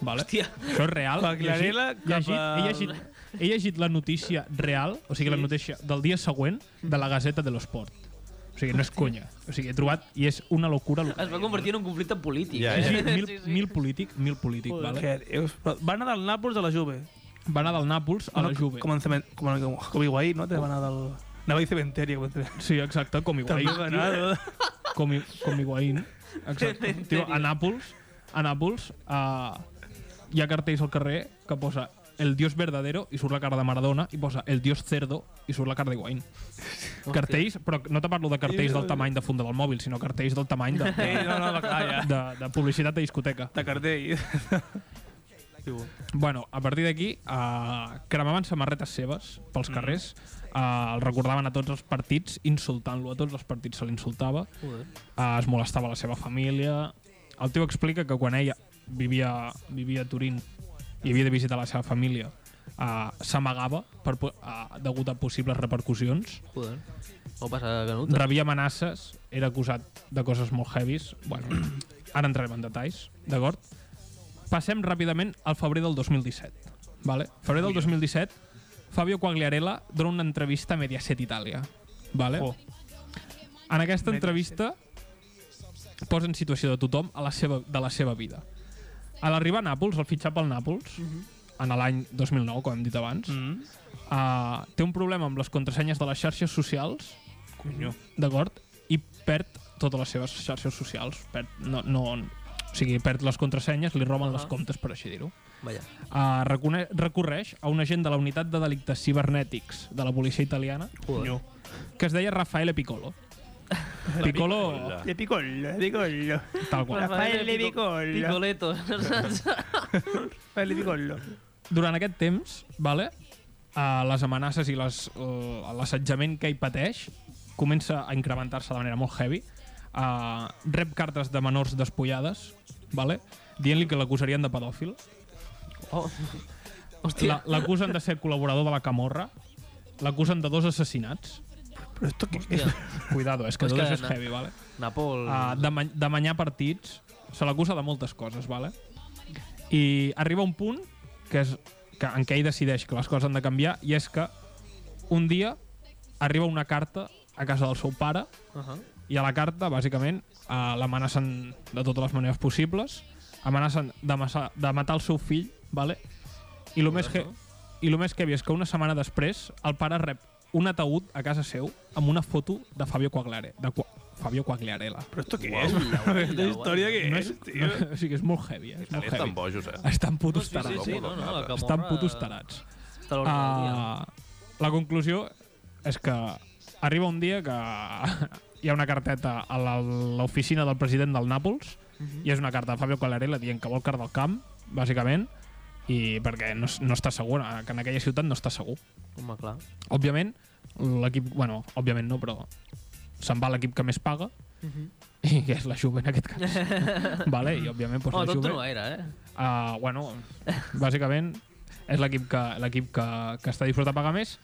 [SPEAKER 3] Vale?
[SPEAKER 4] Hòstia.
[SPEAKER 3] Això és real.
[SPEAKER 2] La Clarela
[SPEAKER 3] Llegit-
[SPEAKER 2] cap
[SPEAKER 3] llegit- he,
[SPEAKER 2] al-
[SPEAKER 3] llegit, he llegit la notícia real, o sigui, la notícia del dia següent de la Gazeta de l'Esport. O sigui, no és conya. O sigui, he trobat i és una locura. el que
[SPEAKER 4] Es Ah, va convertir en un conflicte polític.
[SPEAKER 1] Ja,
[SPEAKER 4] eh?
[SPEAKER 1] ja.
[SPEAKER 3] Sí, mil, mil polític, mil polític,
[SPEAKER 4] Joder.
[SPEAKER 3] vale?
[SPEAKER 2] Què dius? Però Va anar del Nàpols a la Juve.
[SPEAKER 3] Va anar del Nàpols a la
[SPEAKER 2] No,
[SPEAKER 3] Juve.
[SPEAKER 2] Començament, com, com, com Higuaín, no? Te va anar del... Anava a dir cementerio. Començament.
[SPEAKER 3] Sí, exacte, com igual.
[SPEAKER 2] També va anar... de-
[SPEAKER 3] com, i- com Higuaín. Exacte. Tio, a Nàpols, a Nàpols uh, hi ha cartells al carrer que posa el dios verdadero i surt la cara de Maradona i posa el dios cerdo i surt la cara d'Higuaín. Cartells, però no te parlo de cartells del tamany de funda del mòbil, sinó cartells del tamany de, de,
[SPEAKER 2] Ei, no, no, va, clar, ja.
[SPEAKER 3] de, de publicitat de discoteca.
[SPEAKER 2] De cartell.
[SPEAKER 3] Bueno, a partir d'aquí uh, cremaven samarretes seves pels carrers, uh, el recordaven a tots els partits, insultant-lo, a tots els partits se l'insultava,
[SPEAKER 4] Joder.
[SPEAKER 3] eh, es molestava la seva família. El tio explica que quan ella vivia, vivia a Turín i havia de visitar la seva família, eh, s'amagava per po- eh, degut a possibles repercussions.
[SPEAKER 4] Joder. O passa Canut.
[SPEAKER 3] Rebia amenaces, era acusat de coses molt heavies. Bueno, ara entrarem en detalls, d'acord? Passem ràpidament al febrer del 2017. Vale? Febrer del 2017, Fabio Quagliarella dona una entrevista a Mediaset Itàlia. Vale?
[SPEAKER 2] Oh.
[SPEAKER 3] En aquesta entrevista posa en situació de tothom a la seva, de la seva vida. A l'arribar a Nàpols, el fitxar pel Nàpols, en l'any 2009, com hem dit abans,
[SPEAKER 2] Mhm. Mm.
[SPEAKER 3] uh, té un problema amb les contrasenyes de les xarxes socials
[SPEAKER 2] Conyo.
[SPEAKER 3] d'acord? I perd totes les seves xarxes socials. Perd, no, no, o sigui, perd les contrasenyes, li roben uh -huh. les
[SPEAKER 4] Ah.
[SPEAKER 3] comptes, per així dir-ho.
[SPEAKER 4] Vaja.
[SPEAKER 3] Uh, recone- recorreix a un agent de la unitat de delictes cibernètics de la policia italiana
[SPEAKER 4] Joder.
[SPEAKER 3] que es deia Raffaele Piccolo. Piccolo,
[SPEAKER 2] De picollo, de picollo.
[SPEAKER 3] tal qual.
[SPEAKER 2] Raffaele Piccolo.
[SPEAKER 4] Picoleto, no saps?
[SPEAKER 2] Vale, picollo.
[SPEAKER 3] Durant aquest temps, vale, uh, les amenaces i les, uh, l'assetjament que hi pateix comença a incrementar-se de manera molt heavy. Uh, rep cartes de menors despullades, vale, dient-li que l'acusarien de pedòfil.
[SPEAKER 4] Oh.
[SPEAKER 3] La-
[SPEAKER 4] Hòstia.
[SPEAKER 3] L'acusen de ser col·laborador de la Camorra. L'acusen de dos assassinats.
[SPEAKER 2] Però esto què és?
[SPEAKER 4] Hòstia.
[SPEAKER 3] Cuidado, eh, és que
[SPEAKER 4] És
[SPEAKER 3] tot
[SPEAKER 4] que
[SPEAKER 3] això és
[SPEAKER 4] no.
[SPEAKER 3] heavy, vale?
[SPEAKER 4] Napol.
[SPEAKER 3] Uh, de, ma de manyar partits. Se l'acusa de moltes coses, vale? I arriba un punt que és que, en què ell decideix que les coses han de canviar i és que un dia arriba una carta a casa del seu pare
[SPEAKER 4] Uh -huh.
[SPEAKER 3] i a la carta, bàsicament, eh, l'amenacen de totes les maneres possibles, amenacen de, massa, de matar el seu fill, vale? I el més que i el més que és que una setmana després el pare rep un ataúd a casa seu amb una foto de Fabio Quagliare, de Qua Fabio Quagliarella.
[SPEAKER 2] Però esto què és? Aquesta història què
[SPEAKER 3] No
[SPEAKER 2] és,
[SPEAKER 3] és,
[SPEAKER 2] tio?
[SPEAKER 3] no, o sigui, és molt heavy, eh? és molt
[SPEAKER 1] Estan
[SPEAKER 3] heavy.
[SPEAKER 1] bojos, eh?
[SPEAKER 3] Estan putos
[SPEAKER 4] Sí, sí,
[SPEAKER 3] tarats. eh?
[SPEAKER 4] sí, no, no, la Camorra...
[SPEAKER 3] Estan putos tarats.
[SPEAKER 4] Te l'ordre del dia.
[SPEAKER 3] Ah, la conclusió és que arriba un dia que hi ha una carteta a la- l'oficina del president del Nàpols
[SPEAKER 2] Mhm.
[SPEAKER 3] i és una carta de Fabio Quagliarella dient que vol car del camp, bàsicament, i perquè no, es- no està segur, eh, que en aquella ciutat no està segur.
[SPEAKER 4] Home, clar.
[SPEAKER 3] pues Òbviament, l'equip... Bueno, òbviament no, però se'n va l'equip que més paga i que és la Juve en aquest cas. vale, I òbviament doncs,
[SPEAKER 4] Home,
[SPEAKER 3] la Juve...
[SPEAKER 4] tonto no era, eh?
[SPEAKER 3] Uh, bueno, bàsicament és l'equip que, l'equip que, que està disposat a pagar més.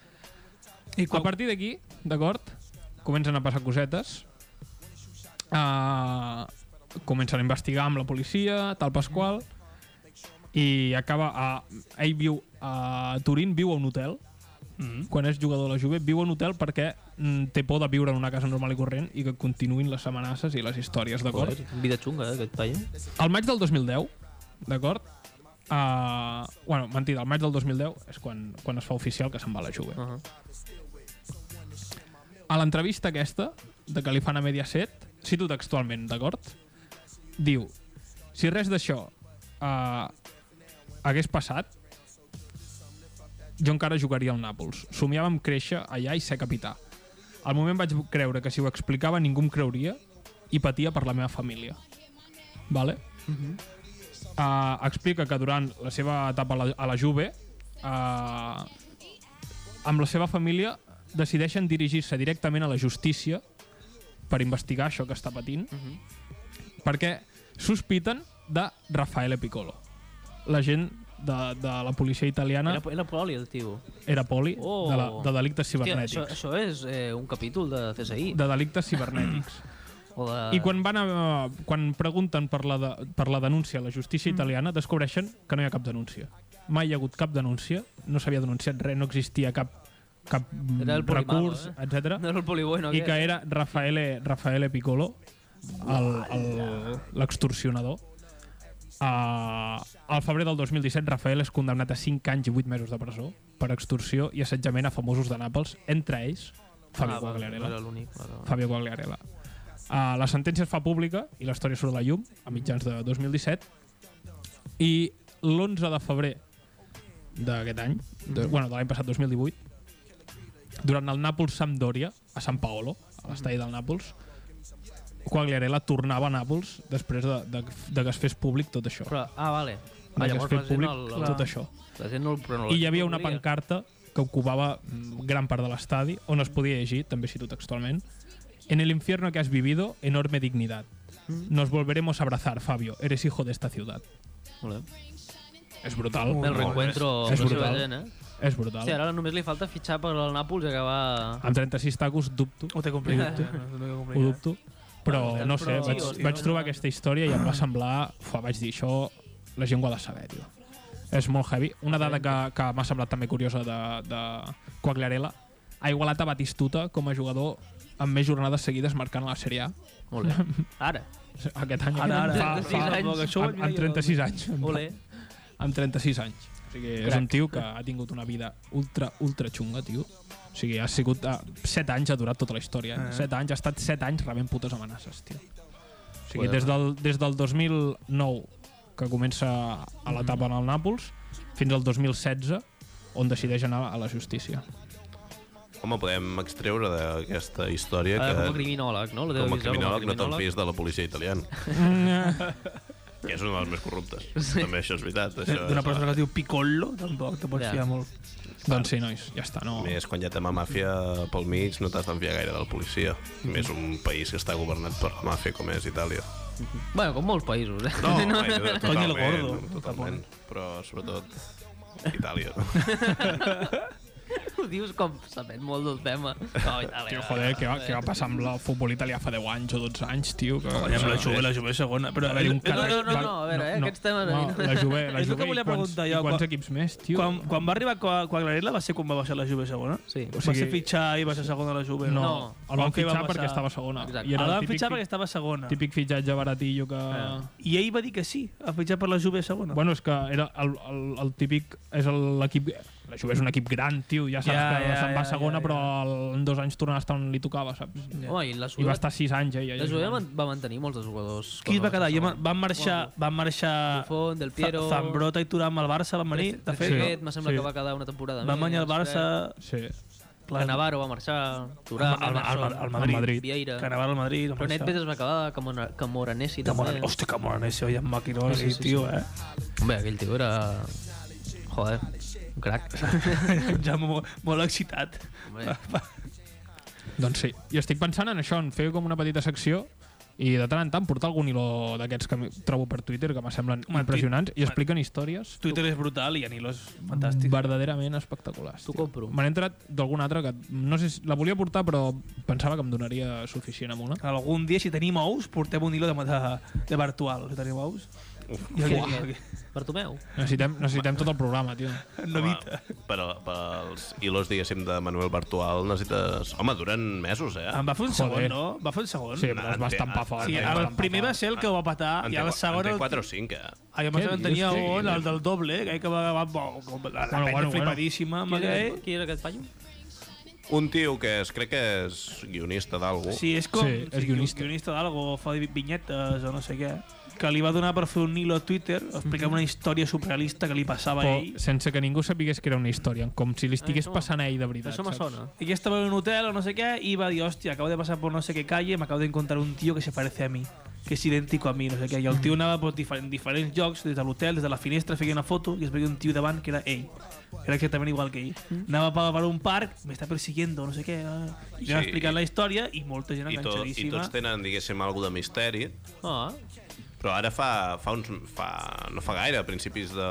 [SPEAKER 3] I
[SPEAKER 2] quan-
[SPEAKER 3] a partir d'aquí, d'acord, comencen a passar cosetes. Uh, comencen a investigar amb la policia, tal Pasqual, i acaba a... Ell viu a Turín, viu a un hotel,
[SPEAKER 2] Mm.
[SPEAKER 3] quan és jugador de la Juve, viu a un hotel perquè mm, té por de viure en una casa normal i corrent i que continuïn les amenaces i les històries, d'acord?
[SPEAKER 4] Joder, vida xunga, eh, aquest paio.
[SPEAKER 3] Al maig del 2010, d'acord? Uh, bueno, mentida, al maig del 2010 és quan, quan es fa oficial que se'n va a la Juve.
[SPEAKER 4] Uh -huh.
[SPEAKER 3] A l'entrevista aquesta, de que li fan a Mediaset, cito textualment, d'acord? Diu, si res d'això uh, hagués passat, jo encara jugaria al Nàpols. Somiava amb créixer allà i ser capità. Al moment vaig creure que si ho explicava ningú em creuria i patia per la meva família. Vale? Uh -huh. uh, explica que durant la seva etapa a la, a la Juve uh, amb la seva família decideixen dirigir-se directament a la justícia per investigar això que està patint uh -huh. perquè sospiten de Raffaele Piccolo la gent de, de la policia italiana
[SPEAKER 4] Era,
[SPEAKER 3] era,
[SPEAKER 4] era poli, el tio.
[SPEAKER 3] era poli
[SPEAKER 4] Oh.
[SPEAKER 3] de, la, de delictes
[SPEAKER 4] Hòstia,
[SPEAKER 3] cibernètics
[SPEAKER 4] això, això és eh, un capítol de CSI.
[SPEAKER 3] de delictes cibernètics
[SPEAKER 4] O de...
[SPEAKER 3] I quan van a, quan pregunten per la, de, per la denúncia a la justícia
[SPEAKER 4] Mm.
[SPEAKER 3] italiana, descobreixen que no hi ha cap denúncia. Mai hi ha hagut cap denúncia, no s'havia denunciat res, no existia cap, cap mm,
[SPEAKER 4] Era el polimalo,
[SPEAKER 3] recurs,
[SPEAKER 4] eh?
[SPEAKER 3] etc.
[SPEAKER 4] No era el poli bueno,
[SPEAKER 3] I que
[SPEAKER 4] aquest.
[SPEAKER 3] era Rafaele, Rafaele Piccolo, el- el- l'extorsionador. Uh, al febrer del 2017, Rafael és condemnat a 5 anys i 8 mesos de presó per extorsió i assetjament a famosos de Nàpols, entre ells
[SPEAKER 4] Ah,
[SPEAKER 3] Fabio ah,
[SPEAKER 4] va,
[SPEAKER 3] Guagliarella.
[SPEAKER 4] Era l'únic. vale, vale.
[SPEAKER 3] Fabio Quagliarella. Uh, la sentència es fa pública i la història surt a la llum a mitjans de 2017 i l'11 de febrer d'aquest any, de, bueno, de l'any passat 2018, durant el Nàpols Sampdoria a San Paolo, a l'estadi del Nàpols, Quagliarella tornava a Nàpols després de, de, de que es fes públic tot això.
[SPEAKER 4] Però, ah, vale.
[SPEAKER 3] De
[SPEAKER 4] Ah,
[SPEAKER 3] que es
[SPEAKER 4] llavors la
[SPEAKER 3] fes
[SPEAKER 4] gent,
[SPEAKER 3] públic
[SPEAKER 4] el,
[SPEAKER 3] tot això.
[SPEAKER 4] la gent no el però no
[SPEAKER 3] I hi havia una
[SPEAKER 4] volia.
[SPEAKER 3] pancarta que ocupava mm, gran part de l'estadi, on es podia llegir, també cito textualment, En el infierno que has vivido, enorme dignidad. Nos volveremos a abrazar, Fabio. Eres hijo de esta ciudad.
[SPEAKER 4] Molt bé.
[SPEAKER 3] És brutal.
[SPEAKER 4] El reencuentro
[SPEAKER 3] és
[SPEAKER 4] amb la seva
[SPEAKER 3] brutal.
[SPEAKER 4] gent, eh?
[SPEAKER 3] És brutal.
[SPEAKER 4] Hòstia, ara només li falta fitxar per al Nàpols i acabar...
[SPEAKER 3] Amb 36 tacos dubto,
[SPEAKER 2] Ho té complicat. eh? No, no ho té
[SPEAKER 3] ho
[SPEAKER 2] complicat.
[SPEAKER 3] dubto. Però
[SPEAKER 4] Hòstia,
[SPEAKER 3] no sé,
[SPEAKER 4] però-
[SPEAKER 3] vaig,
[SPEAKER 4] hòstia,
[SPEAKER 3] vaig
[SPEAKER 4] no.
[SPEAKER 3] trobar aquesta història i em va semblar... Uf, vaig dir, això la gent ho ha de saber, tio. És molt heavy. Una dada que, que m'ha semblat també curiosa de, de Quagliarella ha igualat a Batistuta com a jugador amb més jornades seguides marcant a la Sèrie A.
[SPEAKER 4] Molt bé. Ara.
[SPEAKER 3] Aquest any.
[SPEAKER 2] Ara, ara,
[SPEAKER 3] fa, fa,
[SPEAKER 4] anys.
[SPEAKER 2] poc, això ho vaig
[SPEAKER 3] amb, amb
[SPEAKER 2] mirar jo.
[SPEAKER 3] 36 anys.
[SPEAKER 4] Ole.
[SPEAKER 3] Amb 36 anys. O sigui, és un tio que ha tingut una vida ultra, ultra xunga, tio. O sigui, ha sigut... Uh, 7 anys ha durat tota la història. Eh?
[SPEAKER 2] Ah.
[SPEAKER 3] 7 anys, ha estat 7 anys rebent putes amenaces, tio. O sigui,
[SPEAKER 4] Joder.
[SPEAKER 3] des del, des del 2009, que comença a l'etapa en el Nàpols, fins al 2016, on decideix anar a la justícia.
[SPEAKER 1] Home, podem extreure d'aquesta història
[SPEAKER 4] Ara, com a
[SPEAKER 1] que,
[SPEAKER 4] criminòleg, no? La teva
[SPEAKER 1] eh, com a
[SPEAKER 4] visió
[SPEAKER 1] criminòleg, no te'n fies de la policia italiana, que és una de les més corruptes. També això és veritat. Això
[SPEAKER 2] Eh, D'una
[SPEAKER 1] és
[SPEAKER 2] persona que es diu Piccolo, tampoc te pots
[SPEAKER 4] Ja.
[SPEAKER 2] fiar molt.
[SPEAKER 3] doncs sí, nois, ja està. No,
[SPEAKER 1] A Més quan hi ha tema màfia pel mig no t'has d'enviar gaire de la policia. Més un país que està governat per la màfia com és Itàlia.
[SPEAKER 4] Bueno, com molts països, eh?
[SPEAKER 1] No, no, no.
[SPEAKER 2] Coño, lo
[SPEAKER 1] totalment,
[SPEAKER 2] gordo.
[SPEAKER 1] totalment. Però sobretot Itàlia.
[SPEAKER 4] Ho dius com sabent molt del tema. No, i tal,
[SPEAKER 3] Tio,
[SPEAKER 4] eh?
[SPEAKER 3] joder, què va, què va passar amb el futbol italià fa 10 anys o 12 anys, tio? Que...
[SPEAKER 2] Allà amb la Juve, la Juve és segona. Però eh,
[SPEAKER 3] Va haver-hi un
[SPEAKER 4] No, no,
[SPEAKER 3] càrrec-
[SPEAKER 4] no,
[SPEAKER 3] va-
[SPEAKER 4] no, a veure, eh, aquests temes a mi no.
[SPEAKER 3] la Juve,
[SPEAKER 2] És
[SPEAKER 3] la
[SPEAKER 2] el
[SPEAKER 3] Juve
[SPEAKER 2] que volia
[SPEAKER 3] i quants,
[SPEAKER 2] preguntar
[SPEAKER 3] i
[SPEAKER 2] jo,
[SPEAKER 3] quants
[SPEAKER 2] quan-
[SPEAKER 3] equips més, tio?
[SPEAKER 2] Quan, quan va arribar Qua- Quagliarella va ser quan va baixar la Juve segona?
[SPEAKER 4] Sí.
[SPEAKER 3] O
[SPEAKER 2] va
[SPEAKER 3] sigui-
[SPEAKER 2] ser fitxar i va ser segona a la Juve?
[SPEAKER 3] No,
[SPEAKER 4] No,
[SPEAKER 3] el van
[SPEAKER 2] Quan que va
[SPEAKER 3] fitxar
[SPEAKER 2] passar-
[SPEAKER 3] perquè estava segona.
[SPEAKER 4] Exacte.
[SPEAKER 3] I
[SPEAKER 2] El
[SPEAKER 3] era el
[SPEAKER 2] van
[SPEAKER 3] típic,
[SPEAKER 2] fitxar perquè estava Eh. segona.
[SPEAKER 3] típic fitxatge baratillo que...
[SPEAKER 4] Ah.
[SPEAKER 2] I ell va dir que sí, a fitxar per la Juve segona.
[SPEAKER 3] Bueno, és que era el, el, el típic... És el- l'equip... La Juve és un equip gran, tio, ja saps
[SPEAKER 2] Ja,
[SPEAKER 3] que
[SPEAKER 2] ja,
[SPEAKER 3] se'n va
[SPEAKER 2] ja,
[SPEAKER 3] segona,
[SPEAKER 2] ja,
[SPEAKER 3] però el- en dos anys tornarà a estar on li tocava, saps?
[SPEAKER 4] Home, i la
[SPEAKER 3] I va
[SPEAKER 4] Juve...
[SPEAKER 3] estar sis anys, eh? Ja,
[SPEAKER 4] La Juve man- va mantenir molts dels jugadors.
[SPEAKER 2] Qui es va quedar? Ja
[SPEAKER 4] Segons.
[SPEAKER 2] ma- van marxar... Van marxar...
[SPEAKER 4] Buffon, Del Piero...
[SPEAKER 2] Za- Zambrota i Turam al Barça van venir, de fet,
[SPEAKER 3] Sí.
[SPEAKER 2] no?
[SPEAKER 4] me sembla
[SPEAKER 3] Sí.
[SPEAKER 4] que va quedar una temporada
[SPEAKER 2] Van guanyar el Barça...
[SPEAKER 3] Sí.
[SPEAKER 4] Que Navarro va marxar, Turam,
[SPEAKER 2] Al- al- al- al- al Madrid.
[SPEAKER 4] Vieira.
[SPEAKER 2] Que anava al Madrid...
[SPEAKER 4] Però
[SPEAKER 2] van
[SPEAKER 4] Netbet
[SPEAKER 2] marxar.
[SPEAKER 4] es va quedar, Camora- Camoranesi
[SPEAKER 2] Que
[SPEAKER 4] també.
[SPEAKER 2] mola, hòstia, que mola Nessio i en Maquinó, sí, tio, eh?
[SPEAKER 4] Bé, aquell tio era... Joder, un crac.
[SPEAKER 2] ja molt, molt excitat.
[SPEAKER 4] Home,
[SPEAKER 3] Doncs sí. I estic pensant en això, en fer com una petita secció i de tant en tant portar algun hilo d'aquests que trobo per Twitter que me semblen
[SPEAKER 2] Home,
[SPEAKER 3] impressionants i expliquen històries
[SPEAKER 2] Twitter és brutal i Anilo és fantàstic.
[SPEAKER 3] verdaderament espectaculars.
[SPEAKER 4] T'ho
[SPEAKER 3] tio.
[SPEAKER 4] compro.
[SPEAKER 3] Me n'he entrat d'alguna altra que no sé si la volia portar però pensava que em donaria suficient amb una.
[SPEAKER 2] Algun dia, si tenim ous, portem un hilo de, de, de virtual. Si tenim ous,
[SPEAKER 4] Què és aquest? Bartomeu?
[SPEAKER 3] Necessitem, necessitem tot el programa, tio.
[SPEAKER 2] novita.
[SPEAKER 1] Però pels hilos, diguéssim, de Manuel Bartual necessites... Home, duren mesos, eh?
[SPEAKER 2] Ah, Em va fer un
[SPEAKER 3] Joder.
[SPEAKER 2] segon, no? Va fer un segon.
[SPEAKER 3] Sí, però es va estampar fort.
[SPEAKER 2] Sí,
[SPEAKER 3] es va
[SPEAKER 2] el
[SPEAKER 3] estampar
[SPEAKER 2] primer va
[SPEAKER 3] fort.
[SPEAKER 2] ser el que ho va patar,
[SPEAKER 1] En
[SPEAKER 2] i el
[SPEAKER 1] té-
[SPEAKER 2] segon...
[SPEAKER 1] En
[SPEAKER 2] El,
[SPEAKER 1] té 4 o 5, eh?
[SPEAKER 2] Ah, jo em pensava
[SPEAKER 3] Què
[SPEAKER 2] que tenia
[SPEAKER 3] dius, tio?
[SPEAKER 2] un, el del doble, que que va, va, va, va la, la
[SPEAKER 3] Bueno,
[SPEAKER 2] penya
[SPEAKER 3] bueno,
[SPEAKER 2] flipadíssima, amb
[SPEAKER 4] Qui era,
[SPEAKER 2] aquell.
[SPEAKER 4] aquest, qui era aquest paio?
[SPEAKER 1] Un tio que es crec que és guionista d'algú.
[SPEAKER 2] Sí, és com...
[SPEAKER 3] Sí, és guionista.
[SPEAKER 2] Guionista d'algo, fa vi- vinyetes o no sé què. Que li va donar per fer un hilo a Twitter explicant una història surrealista que li passava a ell.
[SPEAKER 3] Mhm. Però sense que ningú sapigués que era una història, com si li estigués
[SPEAKER 4] Això-
[SPEAKER 3] passant a ell de veritat.
[SPEAKER 4] Això me
[SPEAKER 3] saps?
[SPEAKER 4] sona.
[SPEAKER 2] Y que estaba en un hotel o no sé qué y va a hostia, acabo de pasar por no sé qué calle, me acabo de encontrar un tío que se parece a mí, que es idéntico a mí, no sé qué. Y el tío anava por difer- en diferents llocs, des de l'hotel, des de la finestra, feia una foto i es veia un tío davant que era ell. Era exactament igual que ell.
[SPEAKER 3] Mm.
[SPEAKER 2] Anava per, per un parc, me está persiguiendo, no sé què. ah. I sí.
[SPEAKER 1] Sí.
[SPEAKER 2] explicar la història i molta gent
[SPEAKER 1] I, to, I
[SPEAKER 2] enganxadíssima.
[SPEAKER 1] tots tenen, diguéssim, alguna de misteri.
[SPEAKER 4] Ah,
[SPEAKER 1] Però ara fa, fa uns... Fa, no fa gaire, a principis de,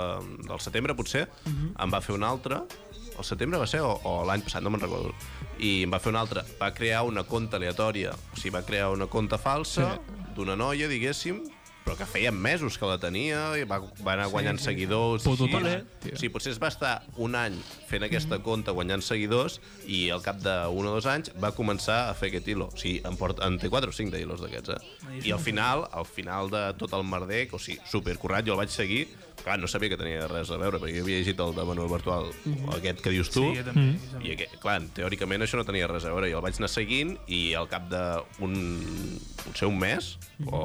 [SPEAKER 1] del setembre, potser, em va fer un altre. El setembre va ser, o, o l'any passat, no me'n recordo. I em va fer un altre. Va crear una conta aleatòria. O sigui, va crear una conta falsa d'una noia, diguéssim, però que feia mesos que la tenia i va, va anar guanyant sí, seguidors.
[SPEAKER 3] Puto
[SPEAKER 1] així.
[SPEAKER 3] talent, tio.
[SPEAKER 1] O sigui, potser es va estar un any fent aquesta conta guanyant seguidors i al cap d'un o dos anys va començar a fer aquest hilo. O sigui, en, port, en té 4 o 5 de hilos d'aquests, eh? I al final, al final de tot el merder, o sigui, supercorrat, jo el vaig seguir, clar, no sabia que tenia res a veure, perquè jo havia llegit el de Manuel Bertual, aquest que dius tu,
[SPEAKER 2] Sí, jo també. Mm. Jo també.
[SPEAKER 1] i aquest, clar, teòricament això no tenia res a veure. Jo el vaig anar seguint i al cap d'un... potser un mes, o,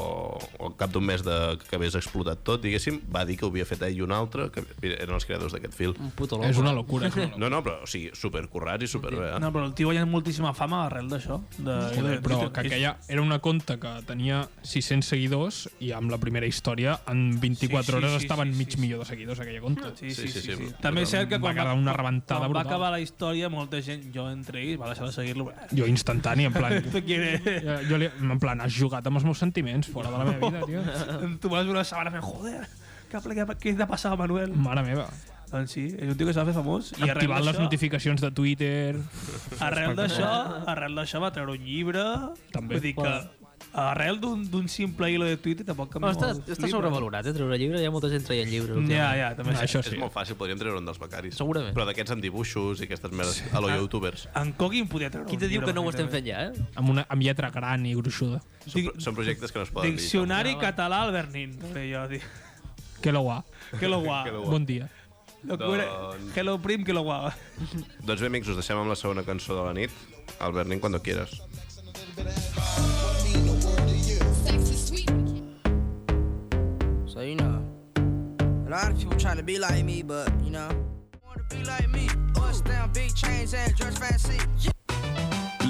[SPEAKER 1] o al cap d'un mes de, que hagués explotat tot, diguéssim, va dir que ho havia fet ell i un altre, que eren els creadors d'aquest film.
[SPEAKER 4] un puto loco.
[SPEAKER 3] És una locura. És una locura.
[SPEAKER 1] No, no, però, o sigui, supercorrats i superbé, eh?
[SPEAKER 2] No, però el tio guanyant moltíssima fama arrel d'això. De,
[SPEAKER 3] Joder,
[SPEAKER 2] de-
[SPEAKER 3] però
[SPEAKER 2] de-
[SPEAKER 3] que aquella era una conta que tenia 600 seguidors i amb la primera història en 24
[SPEAKER 2] Sí, sí,
[SPEAKER 3] hores
[SPEAKER 2] sí,
[SPEAKER 3] estaven
[SPEAKER 2] sí,
[SPEAKER 3] mig
[SPEAKER 2] sí.
[SPEAKER 3] milió de seguidors aquella conta.
[SPEAKER 2] Sí,
[SPEAKER 1] Sí,
[SPEAKER 2] sí, sí.
[SPEAKER 1] sí,
[SPEAKER 2] sí,
[SPEAKER 1] sí.
[SPEAKER 2] sí. També és cert que
[SPEAKER 3] Va
[SPEAKER 2] quan
[SPEAKER 3] quedar una rebentada
[SPEAKER 2] quan va
[SPEAKER 3] brutal.
[SPEAKER 2] acabar la història, molta gent, jo entre ells, va deixar de seguir-lo.
[SPEAKER 3] Jo instantani, en plan...
[SPEAKER 2] Tu quieres...
[SPEAKER 3] jo, jo li, en plan, has jugat amb els meus sentiments fora de la meva vida, tio.
[SPEAKER 2] tu vas veure la setmana fent, joder, què, què, què t'ha passat, Manuel?
[SPEAKER 3] Mare meva.
[SPEAKER 2] Doncs sí, és un tio que s'ha fet famós. I arrel
[SPEAKER 3] Activant les
[SPEAKER 2] d'això-
[SPEAKER 3] notificacions de Twitter...
[SPEAKER 2] Arrel d'això, arrel d'això va treure un llibre.
[SPEAKER 3] També.
[SPEAKER 2] Vull dir que arrel d'un d'un simple hilo de Twitter tampoc canvia
[SPEAKER 4] Bueno, està,
[SPEAKER 2] molt.
[SPEAKER 4] està sobrevalorat, eh, treure llibres. Hi ha molta gent traient llibres.
[SPEAKER 2] Ja,
[SPEAKER 4] últimament.
[SPEAKER 2] ja, també és
[SPEAKER 3] Això
[SPEAKER 1] És
[SPEAKER 3] sí.
[SPEAKER 1] molt fàcil, podríem treure un dels becaris.
[SPEAKER 4] Segurament.
[SPEAKER 1] Però d'aquests amb dibuixos i aquestes merdes, a lo youtubers.
[SPEAKER 2] En Coquin podia treure
[SPEAKER 4] Qui
[SPEAKER 2] un
[SPEAKER 4] te diu
[SPEAKER 2] llibre,
[SPEAKER 4] que no ho estem
[SPEAKER 2] perfectament.
[SPEAKER 4] fent ja, eh?
[SPEAKER 3] Amb, una, amb lletra gran i gruixuda.
[SPEAKER 1] Són, pro- són projectes que no es poden dir.
[SPEAKER 2] Diccionari
[SPEAKER 4] Ja, va.
[SPEAKER 2] català al Bernin. Deia, dic,
[SPEAKER 3] Que lo guà.
[SPEAKER 2] que lo guà.
[SPEAKER 1] Que lo guà.
[SPEAKER 3] Bon dia.
[SPEAKER 2] Lo que era-
[SPEAKER 1] Doncs-
[SPEAKER 2] Que lo prim, que lo guà.
[SPEAKER 1] Doncs bé, amics, us deixem amb la segona cançó de la nit. El Bernin, quan quieras.
[SPEAKER 7] So you know, a lot of people trying to be like me, but you know. Wanna be like me? Bust down big chains and dress fancy.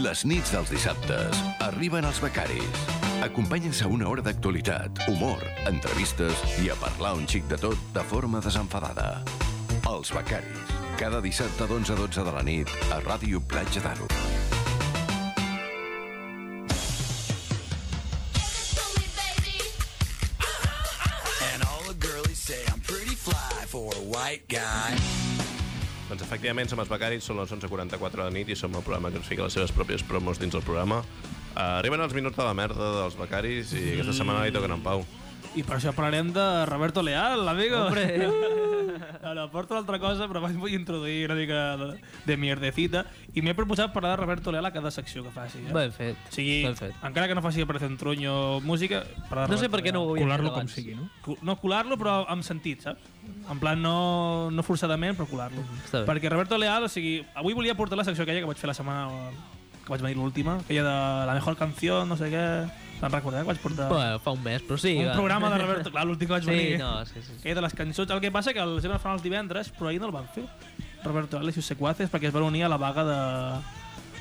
[SPEAKER 8] Les nits dels dissabtes arriben els becaris. Acompanyen-se a una hora d'actualitat, humor, entrevistes i a parlar un xic de tot de forma desenfadada. Els becaris. Cada dissabte d'11 a 12 de la nit a Ràdio Platja d'Aro.
[SPEAKER 6] And all the girlies say I'm pretty fly for a white guy.
[SPEAKER 1] Doncs efectivament som els becaris, són les 11.44 de la nit i som el programa que ens fica les seves pròpies promos dins el programa. Uh, arriben els minuts de la merda dels becaris i aquesta setmana li toquen en Pau.
[SPEAKER 2] I per això parlarem de Roberto Leal, amigo.
[SPEAKER 4] Hombre.
[SPEAKER 2] No, no, porto una altra cosa, però vaig vull introduir una mica de, de mierdecita. I m'he proposat parlar de Roberto Leal a cada secció que faci. Eh?
[SPEAKER 4] Ben fet.
[SPEAKER 2] o sigui,
[SPEAKER 4] Ben fet.
[SPEAKER 2] encara que no faci aparecer un tronyo música... parlar de
[SPEAKER 4] No sé
[SPEAKER 2] Roberto
[SPEAKER 4] per què no
[SPEAKER 2] Leal.
[SPEAKER 4] ho havia
[SPEAKER 3] Colar-lo
[SPEAKER 4] fet
[SPEAKER 3] com
[SPEAKER 4] abans.
[SPEAKER 3] sigui, no?
[SPEAKER 2] Cu- No colar-lo, però amb sentit, saps? En plan, no, no forçadament, però colar-lo.
[SPEAKER 4] Mm-hmm, Està bé.
[SPEAKER 2] Perquè Roberto Leal, o sigui, avui volia portar la secció aquella que vaig fer la setmana que vaig venir l'última, aquella de la mejor canció, no sé què... Te'n recordeu que vaig portar
[SPEAKER 4] Bueno, fa un mes, però sí.
[SPEAKER 2] un
[SPEAKER 4] va.
[SPEAKER 2] programa de Roberto... Clar, l'últim que vaig venir.
[SPEAKER 4] Sí, no, sí, sí. sí.
[SPEAKER 2] Eh, de les cançons. El que passa que els van fer els divendres, però ahir no el van fer. Roberto Alex i els sequaces, perquè es van unir a la vaga de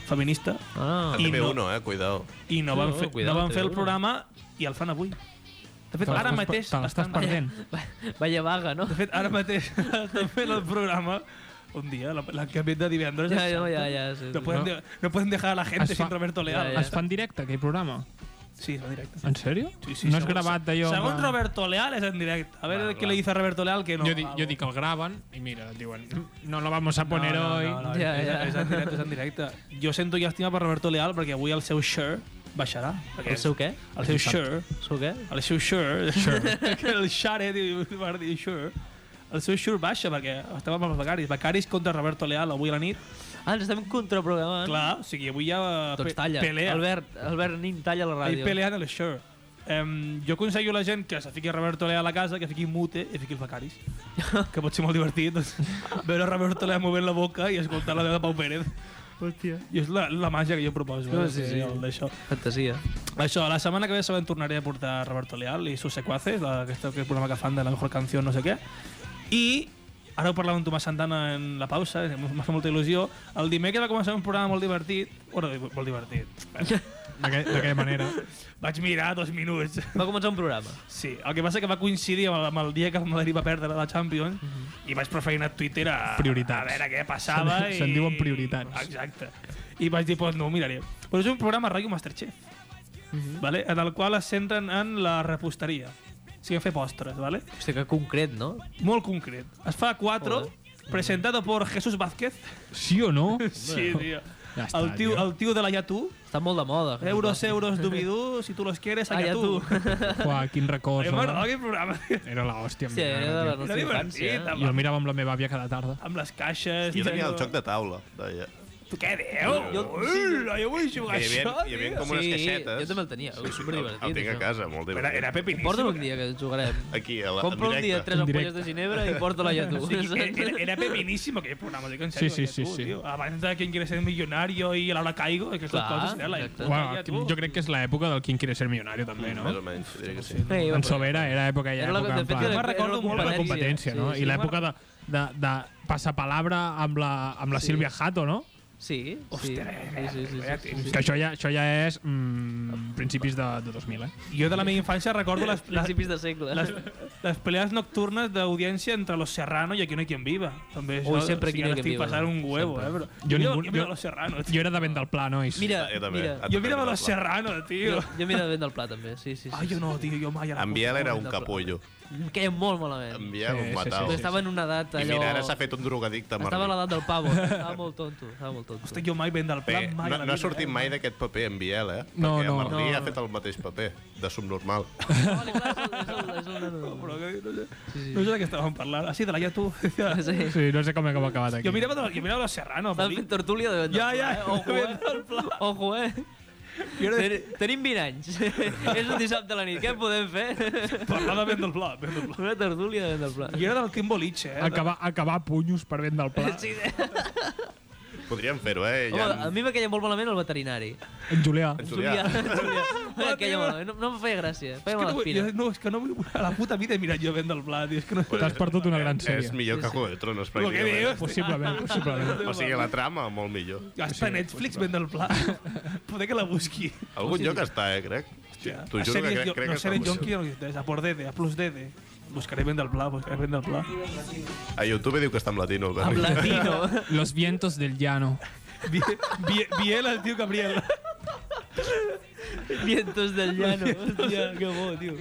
[SPEAKER 2] feminista
[SPEAKER 4] Ah,
[SPEAKER 2] I
[SPEAKER 1] I
[SPEAKER 2] no-
[SPEAKER 1] TV1, eh? Cuidao.
[SPEAKER 2] i no van,
[SPEAKER 4] No,
[SPEAKER 2] fer,
[SPEAKER 4] cuidado,
[SPEAKER 2] no van fer el
[SPEAKER 4] cuidado.
[SPEAKER 2] programa i el fan avui. De fet,
[SPEAKER 3] Te
[SPEAKER 2] ara
[SPEAKER 3] l'estàs-
[SPEAKER 2] mateix...
[SPEAKER 3] Te l'estàs
[SPEAKER 2] estan-
[SPEAKER 3] perdent.
[SPEAKER 4] vaya vaga, no?
[SPEAKER 2] De fet, ara mateix estan fent el programa un dia, la- l'han canviat de divendres. a
[SPEAKER 4] Ja, ja,
[SPEAKER 2] dissabte.
[SPEAKER 4] ja, ja, sí,
[SPEAKER 2] no,
[SPEAKER 4] sí.
[SPEAKER 2] podem
[SPEAKER 3] No.
[SPEAKER 2] de, no podem dejar a la gente
[SPEAKER 3] Es fa-
[SPEAKER 2] sin Roberto Leal.
[SPEAKER 4] Ja, ja.
[SPEAKER 3] Es fa en directe, aquell programa?
[SPEAKER 2] Sí, es en directe.
[SPEAKER 3] En sèrio?
[SPEAKER 2] Sí, sí,
[SPEAKER 3] no has
[SPEAKER 2] segons-
[SPEAKER 3] gravat d'allò... en
[SPEAKER 2] Segons
[SPEAKER 3] plan-
[SPEAKER 2] Roberto Leal és en directe. A ver
[SPEAKER 1] Claro,
[SPEAKER 2] qué
[SPEAKER 1] claro.
[SPEAKER 2] le dice a Roberto Leal que no.
[SPEAKER 3] Jo dic,
[SPEAKER 2] algo.
[SPEAKER 3] jo dic que el graven i mira, diuen no la vamos a
[SPEAKER 2] No,
[SPEAKER 3] poner
[SPEAKER 2] no,
[SPEAKER 3] hoy.
[SPEAKER 2] No, no,
[SPEAKER 4] Ja,
[SPEAKER 2] és,
[SPEAKER 4] ja.
[SPEAKER 2] és, en directe, és en directe. Jo sento llàstima per Roberto Leal perquè avui el seu share baixarà. Perquè
[SPEAKER 4] El seu què?
[SPEAKER 2] El seu share,
[SPEAKER 4] El seu què?
[SPEAKER 2] el seu share, share. el share, diu, per dir share, el seu share baixa perquè estàvem amb els Becaris. Becaris contra Roberto Leal avui a la nit.
[SPEAKER 4] Ah, ens estem contraprogramant.
[SPEAKER 2] Clar, o sigui, avui ja
[SPEAKER 4] Doncs talla.
[SPEAKER 2] pelea.
[SPEAKER 4] Albert, Albert Nin talla la
[SPEAKER 2] Ell
[SPEAKER 4] ràdio.
[SPEAKER 2] pelea en el share. Um, jo aconsello a la gent que se fiqui Roberto Leal a la casa, que fiqui mute i fiqui els Becaris. que pot ser molt divertit, doncs, veure Roberto Leal movent la boca i escoltar la veu de Pau Pérez.
[SPEAKER 4] Hòstia.
[SPEAKER 2] I és la, la màgia que jo proposo.
[SPEAKER 4] No,
[SPEAKER 2] eh,
[SPEAKER 4] sí,
[SPEAKER 2] sí,
[SPEAKER 4] sí.
[SPEAKER 2] sí. Això.
[SPEAKER 4] Fantasia.
[SPEAKER 2] això, la setmana que ve sabem tornaré a portar Roberto Leal i sus secuaces, la- aquest aquest programa que fan de la mejor canció no sé què. I ara ho parlava amb Tomàs Santana en la pausa, eh, m'ha fet molta il·lusió. El dimecres va començar un programa molt divertit, bueno, molt divertit.
[SPEAKER 3] D'aquell- D'aquella manera.
[SPEAKER 2] Vaig mirar dos minuts.
[SPEAKER 4] Va començar un programa.
[SPEAKER 2] Sí, el que passa que va coincidir amb el, amb el dia que el Madrid va perdre la Champions mm -hmm. i vaig per feina a Twitter a,
[SPEAKER 3] Mhm. Prioritats.
[SPEAKER 2] a veure què passava.
[SPEAKER 3] Se'n-
[SPEAKER 2] i...
[SPEAKER 3] se'n diuen prioritats.
[SPEAKER 2] Exacte. I vaig dir, doncs no ho miraré. Però és un programa rotllo Masterchef,
[SPEAKER 3] Mhm.
[SPEAKER 2] vale? en el qual es centren en la reposteria. O sigui, en fer postres, vale?
[SPEAKER 4] Hòstia, que concret, no?
[SPEAKER 2] molt concret. Es fa a quatre,
[SPEAKER 4] Joder.
[SPEAKER 2] presentado por Jesús Vázquez.
[SPEAKER 3] Sí o no?
[SPEAKER 2] Sí, tio.
[SPEAKER 3] Ja està,
[SPEAKER 2] El tio,
[SPEAKER 3] tio.
[SPEAKER 2] el tio de la Yatú.
[SPEAKER 4] Està molt de moda.
[SPEAKER 2] Euros, euros, dubidú, si tu los quieres, a
[SPEAKER 4] Ah,
[SPEAKER 2] Yatú. Eh,
[SPEAKER 4] Yatú.
[SPEAKER 3] Uah, quin record.
[SPEAKER 2] Em
[SPEAKER 3] no?
[SPEAKER 2] va aquell programa, tio.
[SPEAKER 3] Era l'hòstia.
[SPEAKER 4] Sí,
[SPEAKER 3] mira,
[SPEAKER 4] era de la
[SPEAKER 3] tio.
[SPEAKER 4] nostra
[SPEAKER 2] Era
[SPEAKER 4] infància.
[SPEAKER 2] divertit,
[SPEAKER 4] eh?
[SPEAKER 3] Jo el mirava amb la meva àvia cada tarda.
[SPEAKER 2] amb les caixes...
[SPEAKER 1] Jo tenia el
[SPEAKER 2] no-
[SPEAKER 1] joc de taula, deia.
[SPEAKER 2] Tu què dius? Jo,
[SPEAKER 4] Jo-
[SPEAKER 2] jo, jo vull jugar
[SPEAKER 1] Que hi havia,
[SPEAKER 2] a això,
[SPEAKER 1] hi havia
[SPEAKER 2] tio.
[SPEAKER 1] com unes
[SPEAKER 4] sí,
[SPEAKER 1] caixetes.
[SPEAKER 4] jo també el tenia, és superdivertit,
[SPEAKER 1] El, el tinc a
[SPEAKER 4] això.
[SPEAKER 1] casa, molt
[SPEAKER 2] Era,
[SPEAKER 1] divertit.
[SPEAKER 2] era pepiníssim.
[SPEAKER 4] Porta'm un dia que jugarem.
[SPEAKER 1] Aquí, a la,
[SPEAKER 4] Compro un
[SPEAKER 1] en
[SPEAKER 4] dia
[SPEAKER 1] directe.
[SPEAKER 4] tres
[SPEAKER 3] En
[SPEAKER 4] ampolles
[SPEAKER 3] directe.
[SPEAKER 4] de ginebra i porta-la ja tu.
[SPEAKER 2] O sigui, era, era pepiníssim aquell programa, dic en
[SPEAKER 3] Sí,
[SPEAKER 2] sèrio.
[SPEAKER 3] sí,
[SPEAKER 2] que tu,
[SPEAKER 3] sí, sí.
[SPEAKER 2] tio, Abans de Quien quiere ser millonario i Laura Caigo, aquestes
[SPEAKER 4] Clar,
[SPEAKER 2] coses, era la
[SPEAKER 4] exacte.
[SPEAKER 2] època,
[SPEAKER 3] Uah,
[SPEAKER 2] ja, tu.
[SPEAKER 3] jo crec que és l'època del Quien quiere ser milionari, també,
[SPEAKER 1] Mm,
[SPEAKER 3] no?
[SPEAKER 1] Més o menys, diria que sí.
[SPEAKER 4] Ei, va,
[SPEAKER 3] En
[SPEAKER 4] però-
[SPEAKER 3] Sobera era època ja
[SPEAKER 4] Era la-
[SPEAKER 3] època
[SPEAKER 4] de
[SPEAKER 3] en
[SPEAKER 4] fet,
[SPEAKER 3] plan...
[SPEAKER 2] Jo
[SPEAKER 4] era-
[SPEAKER 2] me'n recordo
[SPEAKER 4] era
[SPEAKER 2] molt
[SPEAKER 3] la
[SPEAKER 2] la
[SPEAKER 3] competència,
[SPEAKER 4] sí,
[SPEAKER 3] no?
[SPEAKER 4] sí.
[SPEAKER 3] I l'època de, de, de passar palabra amb la, amb la
[SPEAKER 4] Sí.
[SPEAKER 3] Sílvia Jato, no?
[SPEAKER 4] Sí, sí, sí, sí, sí, sí, sí, sí.
[SPEAKER 3] Que això ja, això ja és mm, principis de, de 2000, eh?
[SPEAKER 2] Jo de la meva infància recordo les, les,
[SPEAKER 4] Principis de segle.
[SPEAKER 2] les, les pelees nocturnes d'audiència entre Los Serrano i Aquí no hay quien viva. També això,
[SPEAKER 4] Ui, sempre
[SPEAKER 2] o sigui,
[SPEAKER 4] Aquí no hay
[SPEAKER 2] ara
[SPEAKER 4] quien
[SPEAKER 2] estic
[SPEAKER 4] viva,
[SPEAKER 2] passant un huevo,
[SPEAKER 4] sempre.
[SPEAKER 2] eh, però... Jo,
[SPEAKER 3] Jo
[SPEAKER 2] jo,
[SPEAKER 3] ningú-
[SPEAKER 2] jo, miro
[SPEAKER 3] jo-
[SPEAKER 2] Los Serrano, tio.
[SPEAKER 3] Jo era de vent del pla, nois.
[SPEAKER 4] Mira,
[SPEAKER 1] Jo també.
[SPEAKER 4] mira.
[SPEAKER 2] Jo mirava
[SPEAKER 1] Atacant
[SPEAKER 2] Los
[SPEAKER 1] el pla.
[SPEAKER 2] Serrano, tio.
[SPEAKER 4] Jo, jo mirava ben del pla, també, sí, sí. sí.
[SPEAKER 2] Ai, jo no, tio, jo mai a la
[SPEAKER 1] En Biel era un
[SPEAKER 4] Completable.
[SPEAKER 1] capullo.
[SPEAKER 4] Em queia molt malament.
[SPEAKER 1] En Biel,
[SPEAKER 3] Sí, sí,
[SPEAKER 1] un
[SPEAKER 3] sí,
[SPEAKER 1] matau.
[SPEAKER 3] sí, sí.
[SPEAKER 4] Estava en una edat
[SPEAKER 1] I
[SPEAKER 4] allò...
[SPEAKER 1] mira, ara s'ha fet un drogadicte. amb
[SPEAKER 4] Estava a
[SPEAKER 1] Arnau.
[SPEAKER 4] l'edat del pavo, eh. estava molt tonto, estava molt tonto.
[SPEAKER 2] Hosti, jo mai vent del pla,
[SPEAKER 1] Bé,
[SPEAKER 2] mai a
[SPEAKER 1] no,
[SPEAKER 2] la
[SPEAKER 1] no ha
[SPEAKER 2] vida,
[SPEAKER 1] sortit
[SPEAKER 2] eh?
[SPEAKER 1] mai d'aquest paper en Biel, eh?
[SPEAKER 3] No,
[SPEAKER 1] Perquè
[SPEAKER 3] no.
[SPEAKER 1] el Martí
[SPEAKER 4] No.
[SPEAKER 1] ha fet el mateix paper, de subnormal.
[SPEAKER 4] Vale, clar, és el, és el, és el nano.
[SPEAKER 2] Però que, no, sé,
[SPEAKER 4] Sí, sí.
[SPEAKER 2] no sé de què estàvem parlant. Ah, sí, de la Yatu.
[SPEAKER 4] Sí.
[SPEAKER 3] Sí, no sé com hem acabat aquí.
[SPEAKER 2] Jo mirava, de, jo mirava los Serrano,
[SPEAKER 4] Estava
[SPEAKER 2] Felip.
[SPEAKER 4] fent tertúlia de venda.
[SPEAKER 2] Ja, ja,
[SPEAKER 4] Eh? Ojo,
[SPEAKER 2] de
[SPEAKER 4] eh?
[SPEAKER 2] venda al pla.
[SPEAKER 4] Ojo, eh?
[SPEAKER 2] Jo era de
[SPEAKER 4] Ten, tenim 20 anys. és un dissabte a la nit. Què podem fer?
[SPEAKER 2] parlar de vent del pla. vent del pla.
[SPEAKER 4] Una tertúlia de venda al pla.
[SPEAKER 2] Jo era del Quim Boliche, eh?
[SPEAKER 3] Acabar, acabar a punyos per vent del pla.
[SPEAKER 4] Sí, sí.
[SPEAKER 1] Podríem fer-ho, eh?
[SPEAKER 4] Home,
[SPEAKER 1] Ja
[SPEAKER 4] a mi me queia molt malament el veterinari.
[SPEAKER 3] En Julià.
[SPEAKER 1] en
[SPEAKER 4] Julià.
[SPEAKER 1] Julià.
[SPEAKER 4] Julià. Me queia malament. No, no em feia gràcia.
[SPEAKER 2] És
[SPEAKER 4] Feia
[SPEAKER 2] que
[SPEAKER 4] mala
[SPEAKER 2] no, vull-
[SPEAKER 4] espina.
[SPEAKER 2] jo, no, és que no vull a la puta vida he mirat jo vent del pla, tio. És que no...
[SPEAKER 1] Pues, eh,
[SPEAKER 3] T'has perdut una gran
[SPEAKER 1] És
[SPEAKER 3] sèrie.
[SPEAKER 1] millor que Juego de Tronos,
[SPEAKER 2] Lo que
[SPEAKER 1] pràcticament.
[SPEAKER 2] dius.
[SPEAKER 3] Possiblement, possiblement.
[SPEAKER 1] O sigui, la trama, molt millor.
[SPEAKER 2] Ja està a Netflix, vent del pla. Poder que la busqui.
[SPEAKER 1] Algun lloc està, eh, crec. T'ho juro
[SPEAKER 2] A
[SPEAKER 1] que
[SPEAKER 2] sèries
[SPEAKER 1] crec,
[SPEAKER 2] jo-
[SPEAKER 1] crec
[SPEAKER 2] no
[SPEAKER 1] que està.
[SPEAKER 2] seré
[SPEAKER 1] a
[SPEAKER 2] Jonqui, no li interessa. Por DD, a plus DD. Buscaré vent del pla, buscaré vent del pla.
[SPEAKER 1] A YouTube diu que està amb latino, el
[SPEAKER 4] Amb
[SPEAKER 1] Berni.
[SPEAKER 4] latino.
[SPEAKER 3] Los vientos del llano.
[SPEAKER 2] Vie- Vie- Biel, el tio Gabriel.
[SPEAKER 4] Vientos del llano. Hòstia, que bo, tio.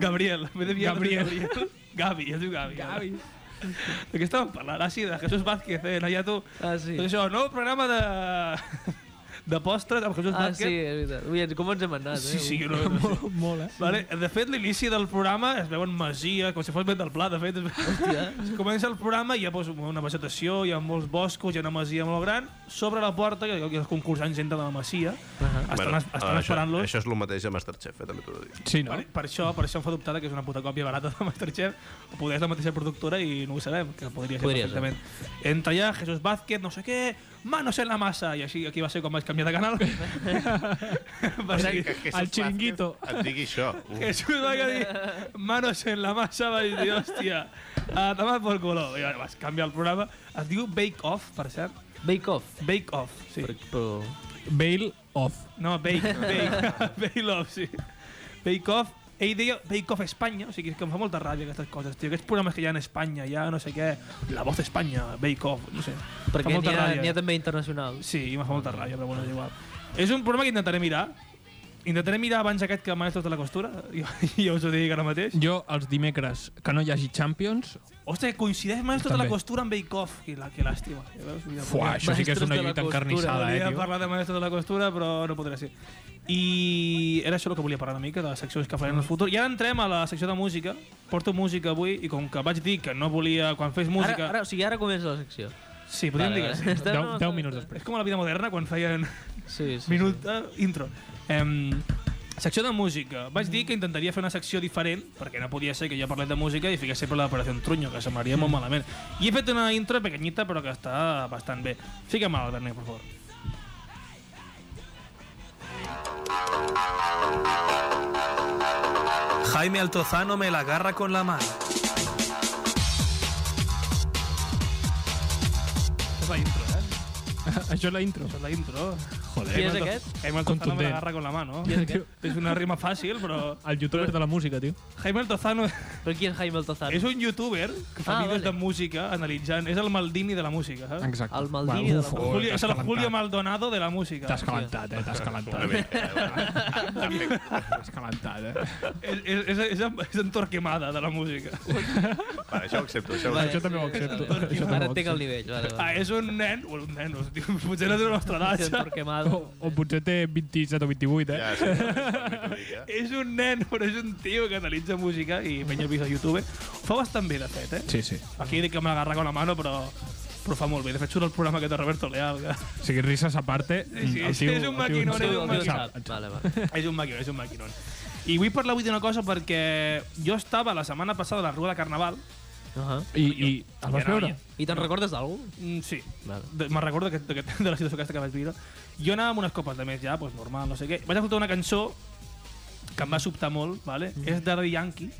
[SPEAKER 2] Gabriel, en vez de Biel,
[SPEAKER 3] Gabriel.
[SPEAKER 2] Gabriel. Gavi, es diu Gavi. Gavi. De què estàvem parlant? Ah, sí, de Jesús Vázquez, eh, Nayato.
[SPEAKER 4] Ah, sí.
[SPEAKER 2] Doncs això, nou programa de... de postres amb Jesús
[SPEAKER 4] Ah, sí,
[SPEAKER 2] Vázquez.
[SPEAKER 4] és veritat. Ui, com ens hem anat, eh?
[SPEAKER 2] Sí, sí, que no, no sé.
[SPEAKER 3] Molt, eh?
[SPEAKER 2] Vale. De fet, l'inici del programa es veuen masia, com si fos vent del pla, de fet.
[SPEAKER 4] Hòstia.
[SPEAKER 2] Es Comença el programa i hi ha doncs, una vegetació, hi ha molts boscos, hi ha una masia molt gran. Sobre la porta, que els concursants entren a la masia. Uh -huh. Estan,
[SPEAKER 1] Bueno, ah,
[SPEAKER 2] estan
[SPEAKER 1] això,
[SPEAKER 2] esperant-los.
[SPEAKER 1] això és el mateix a Masterchef, eh, també t'ho dic.
[SPEAKER 3] Sí, no?
[SPEAKER 2] Per, per, això, per això em fa dubtar que és una puta còpia barata de Masterchef, o poder és la mateixa productora i no ho sabem, que podria ser
[SPEAKER 4] Podria ser.
[SPEAKER 2] perfectament. Entra ja Jesús Vázquez, no sé què, manos en la massa, i així aquí va ser com vaig canviar de canal. va ser
[SPEAKER 1] Que
[SPEAKER 2] que
[SPEAKER 1] Jesús
[SPEAKER 3] El chiringuito.
[SPEAKER 1] Vázquez Et digui això. Uh,
[SPEAKER 2] Jesús Vázquez dir, manos en la massa, va dir, hòstia, a tomar por culo. I va, vas canviar el programa. Es diu Bake Off, per cert.
[SPEAKER 4] Bake Off.
[SPEAKER 2] Bake Off, sí.
[SPEAKER 4] Però, però...
[SPEAKER 3] Bail off.
[SPEAKER 2] No, Bake, Bake, Bake Off, sí. Bake Off, ell deia Bake Off Espanya, o sigui, és que em fa molta ràbia aquestes coses, tio. Aquests programes que hi ha en Espanya, ja no sé què, La Voz Espanya, Bake Off, no sé. Em fa
[SPEAKER 4] Perquè
[SPEAKER 2] molta
[SPEAKER 4] n'hi ha,
[SPEAKER 2] ràbia.
[SPEAKER 4] n'hi ha també internacionals.
[SPEAKER 2] Sí, i em fa molta ràbia, però bueno, és igual. És un programa que intentaré mirar, Intentaré mirar abans aquest que m'ha tota la costura, jo, jo us ho dic ara mateix.
[SPEAKER 3] Jo, els dimecres, que no hi hagi Champions,
[SPEAKER 2] Hòstia, que coincideix més tota
[SPEAKER 3] També.
[SPEAKER 2] la costura amb Bake Off. Que, la, que làstima. Ja veus? Mira,
[SPEAKER 3] Fuà, això sí que és una lluita encarnissada, eh,
[SPEAKER 2] Podria
[SPEAKER 3] tio.
[SPEAKER 2] parlar de Maestros de la Costura, però no podré ser. I era això el que volia parlar una mica, de les seccions que farem en el futur. I ara entrem a la secció de música. Porto música avui, i com que vaig dir que no volia, quan fes música...
[SPEAKER 4] Ara, ara, o sigui, ara comença la secció.
[SPEAKER 2] Sí, podríem
[SPEAKER 4] Vale,
[SPEAKER 2] dir que
[SPEAKER 4] vale.
[SPEAKER 2] sí.
[SPEAKER 4] Estem-
[SPEAKER 3] 10, 10 minuts després.
[SPEAKER 2] És com a la vida moderna, quan feien
[SPEAKER 4] Sí, sí.
[SPEAKER 2] minut eh, intro. Em, secció de música. Vaig dir que intentaria fer una secció diferent, perquè no podia ser que jo parlés de música i fiqués sempre l'operació en trunyo, que
[SPEAKER 4] Mm.
[SPEAKER 2] semblaria molt malament. I he fet una intro pequeñita, però que està bastant bé. Fica'm al Bernet, per favor.
[SPEAKER 9] Jaime Altozano me la agarra con la mano.
[SPEAKER 2] Això és la intro, eh?
[SPEAKER 3] Això és la intro.
[SPEAKER 2] Això és la intro.
[SPEAKER 3] Joder.
[SPEAKER 4] Qui és aquest?
[SPEAKER 2] Jaime Altozano me
[SPEAKER 3] Contundent.
[SPEAKER 2] la agarra con la mano.
[SPEAKER 4] Qui és aquest?
[SPEAKER 2] És una rima fàcil, però...
[SPEAKER 3] El youtuber de la música, tio.
[SPEAKER 2] Jaime Altozano
[SPEAKER 4] Però qui és Jaime Altozano?
[SPEAKER 2] és un youtuber que fa
[SPEAKER 4] Ah,
[SPEAKER 2] vídeos
[SPEAKER 4] vale.
[SPEAKER 2] de música analitzant. És el Maldini de la música, saps?
[SPEAKER 3] Exacte.
[SPEAKER 4] El Maldini de la
[SPEAKER 3] uf,
[SPEAKER 4] música.
[SPEAKER 3] oh,
[SPEAKER 2] Julio,
[SPEAKER 3] t'has
[SPEAKER 2] és el
[SPEAKER 3] calentat.
[SPEAKER 2] Julio Maldonado de la música.
[SPEAKER 3] T'has calentat, eh? T'has
[SPEAKER 1] Una
[SPEAKER 3] calentat.
[SPEAKER 1] mica, eh? bueno.
[SPEAKER 3] T'has calentat, eh?
[SPEAKER 2] És, és, és, és, és en Torquemada de la música.
[SPEAKER 1] Va, això ho accepto. Això ho accepto.
[SPEAKER 4] Vale,
[SPEAKER 3] Això també ho
[SPEAKER 4] sí,
[SPEAKER 3] accepto.
[SPEAKER 4] vale.
[SPEAKER 3] Això també
[SPEAKER 4] Ara
[SPEAKER 3] ho
[SPEAKER 4] entenc
[SPEAKER 3] accepto.
[SPEAKER 4] el nivell. Vale, vale.
[SPEAKER 2] Ah, és un nen, o un nen, o sigui, potser no té la nostra
[SPEAKER 4] Sí, en
[SPEAKER 2] edat. ja.
[SPEAKER 4] Torquemada.
[SPEAKER 3] O potser té 27 o 28, eh?
[SPEAKER 1] Ja, sí, una mica, eh?
[SPEAKER 2] És un nen, però és un tio que analitza música i penya vídeos a YouTube. Ho fa bastant bé, de fet, eh?
[SPEAKER 3] Sí, sí.
[SPEAKER 2] Aquí dic que me l'agarra con la mano, però, però ho fa molt bé. De fet, surt el programa aquest de Roberto Leal. Que...
[SPEAKER 3] O sigui, risas a parte...
[SPEAKER 2] Sí, sí,
[SPEAKER 3] el
[SPEAKER 2] és
[SPEAKER 3] tio-
[SPEAKER 2] un
[SPEAKER 3] el tio
[SPEAKER 2] maquinón,
[SPEAKER 3] en
[SPEAKER 2] és
[SPEAKER 3] sap,
[SPEAKER 2] un
[SPEAKER 3] en
[SPEAKER 2] maquinón.
[SPEAKER 3] sap.
[SPEAKER 4] Vale, vale.
[SPEAKER 2] és un maquinon, és un maquinon. I vull parlar avui d'una cosa perquè jo estava la setmana passada a la Rua de Carnaval.
[SPEAKER 4] Uh -huh.
[SPEAKER 3] I, i el vas
[SPEAKER 2] Que no,
[SPEAKER 3] veure?
[SPEAKER 2] ja.
[SPEAKER 4] I te'n recordes d'algú?
[SPEAKER 2] Mm, sí,
[SPEAKER 4] Vale.
[SPEAKER 2] De- Me'n recordo d'aquest- d'aquest- de la situació aquesta que vaig viure. Jo anava amb unes copes de més ja, doncs normal, no sé què. Vaig escoltar una cançó que em va sobtar molt, vale? Mm. és Daddy Yankee,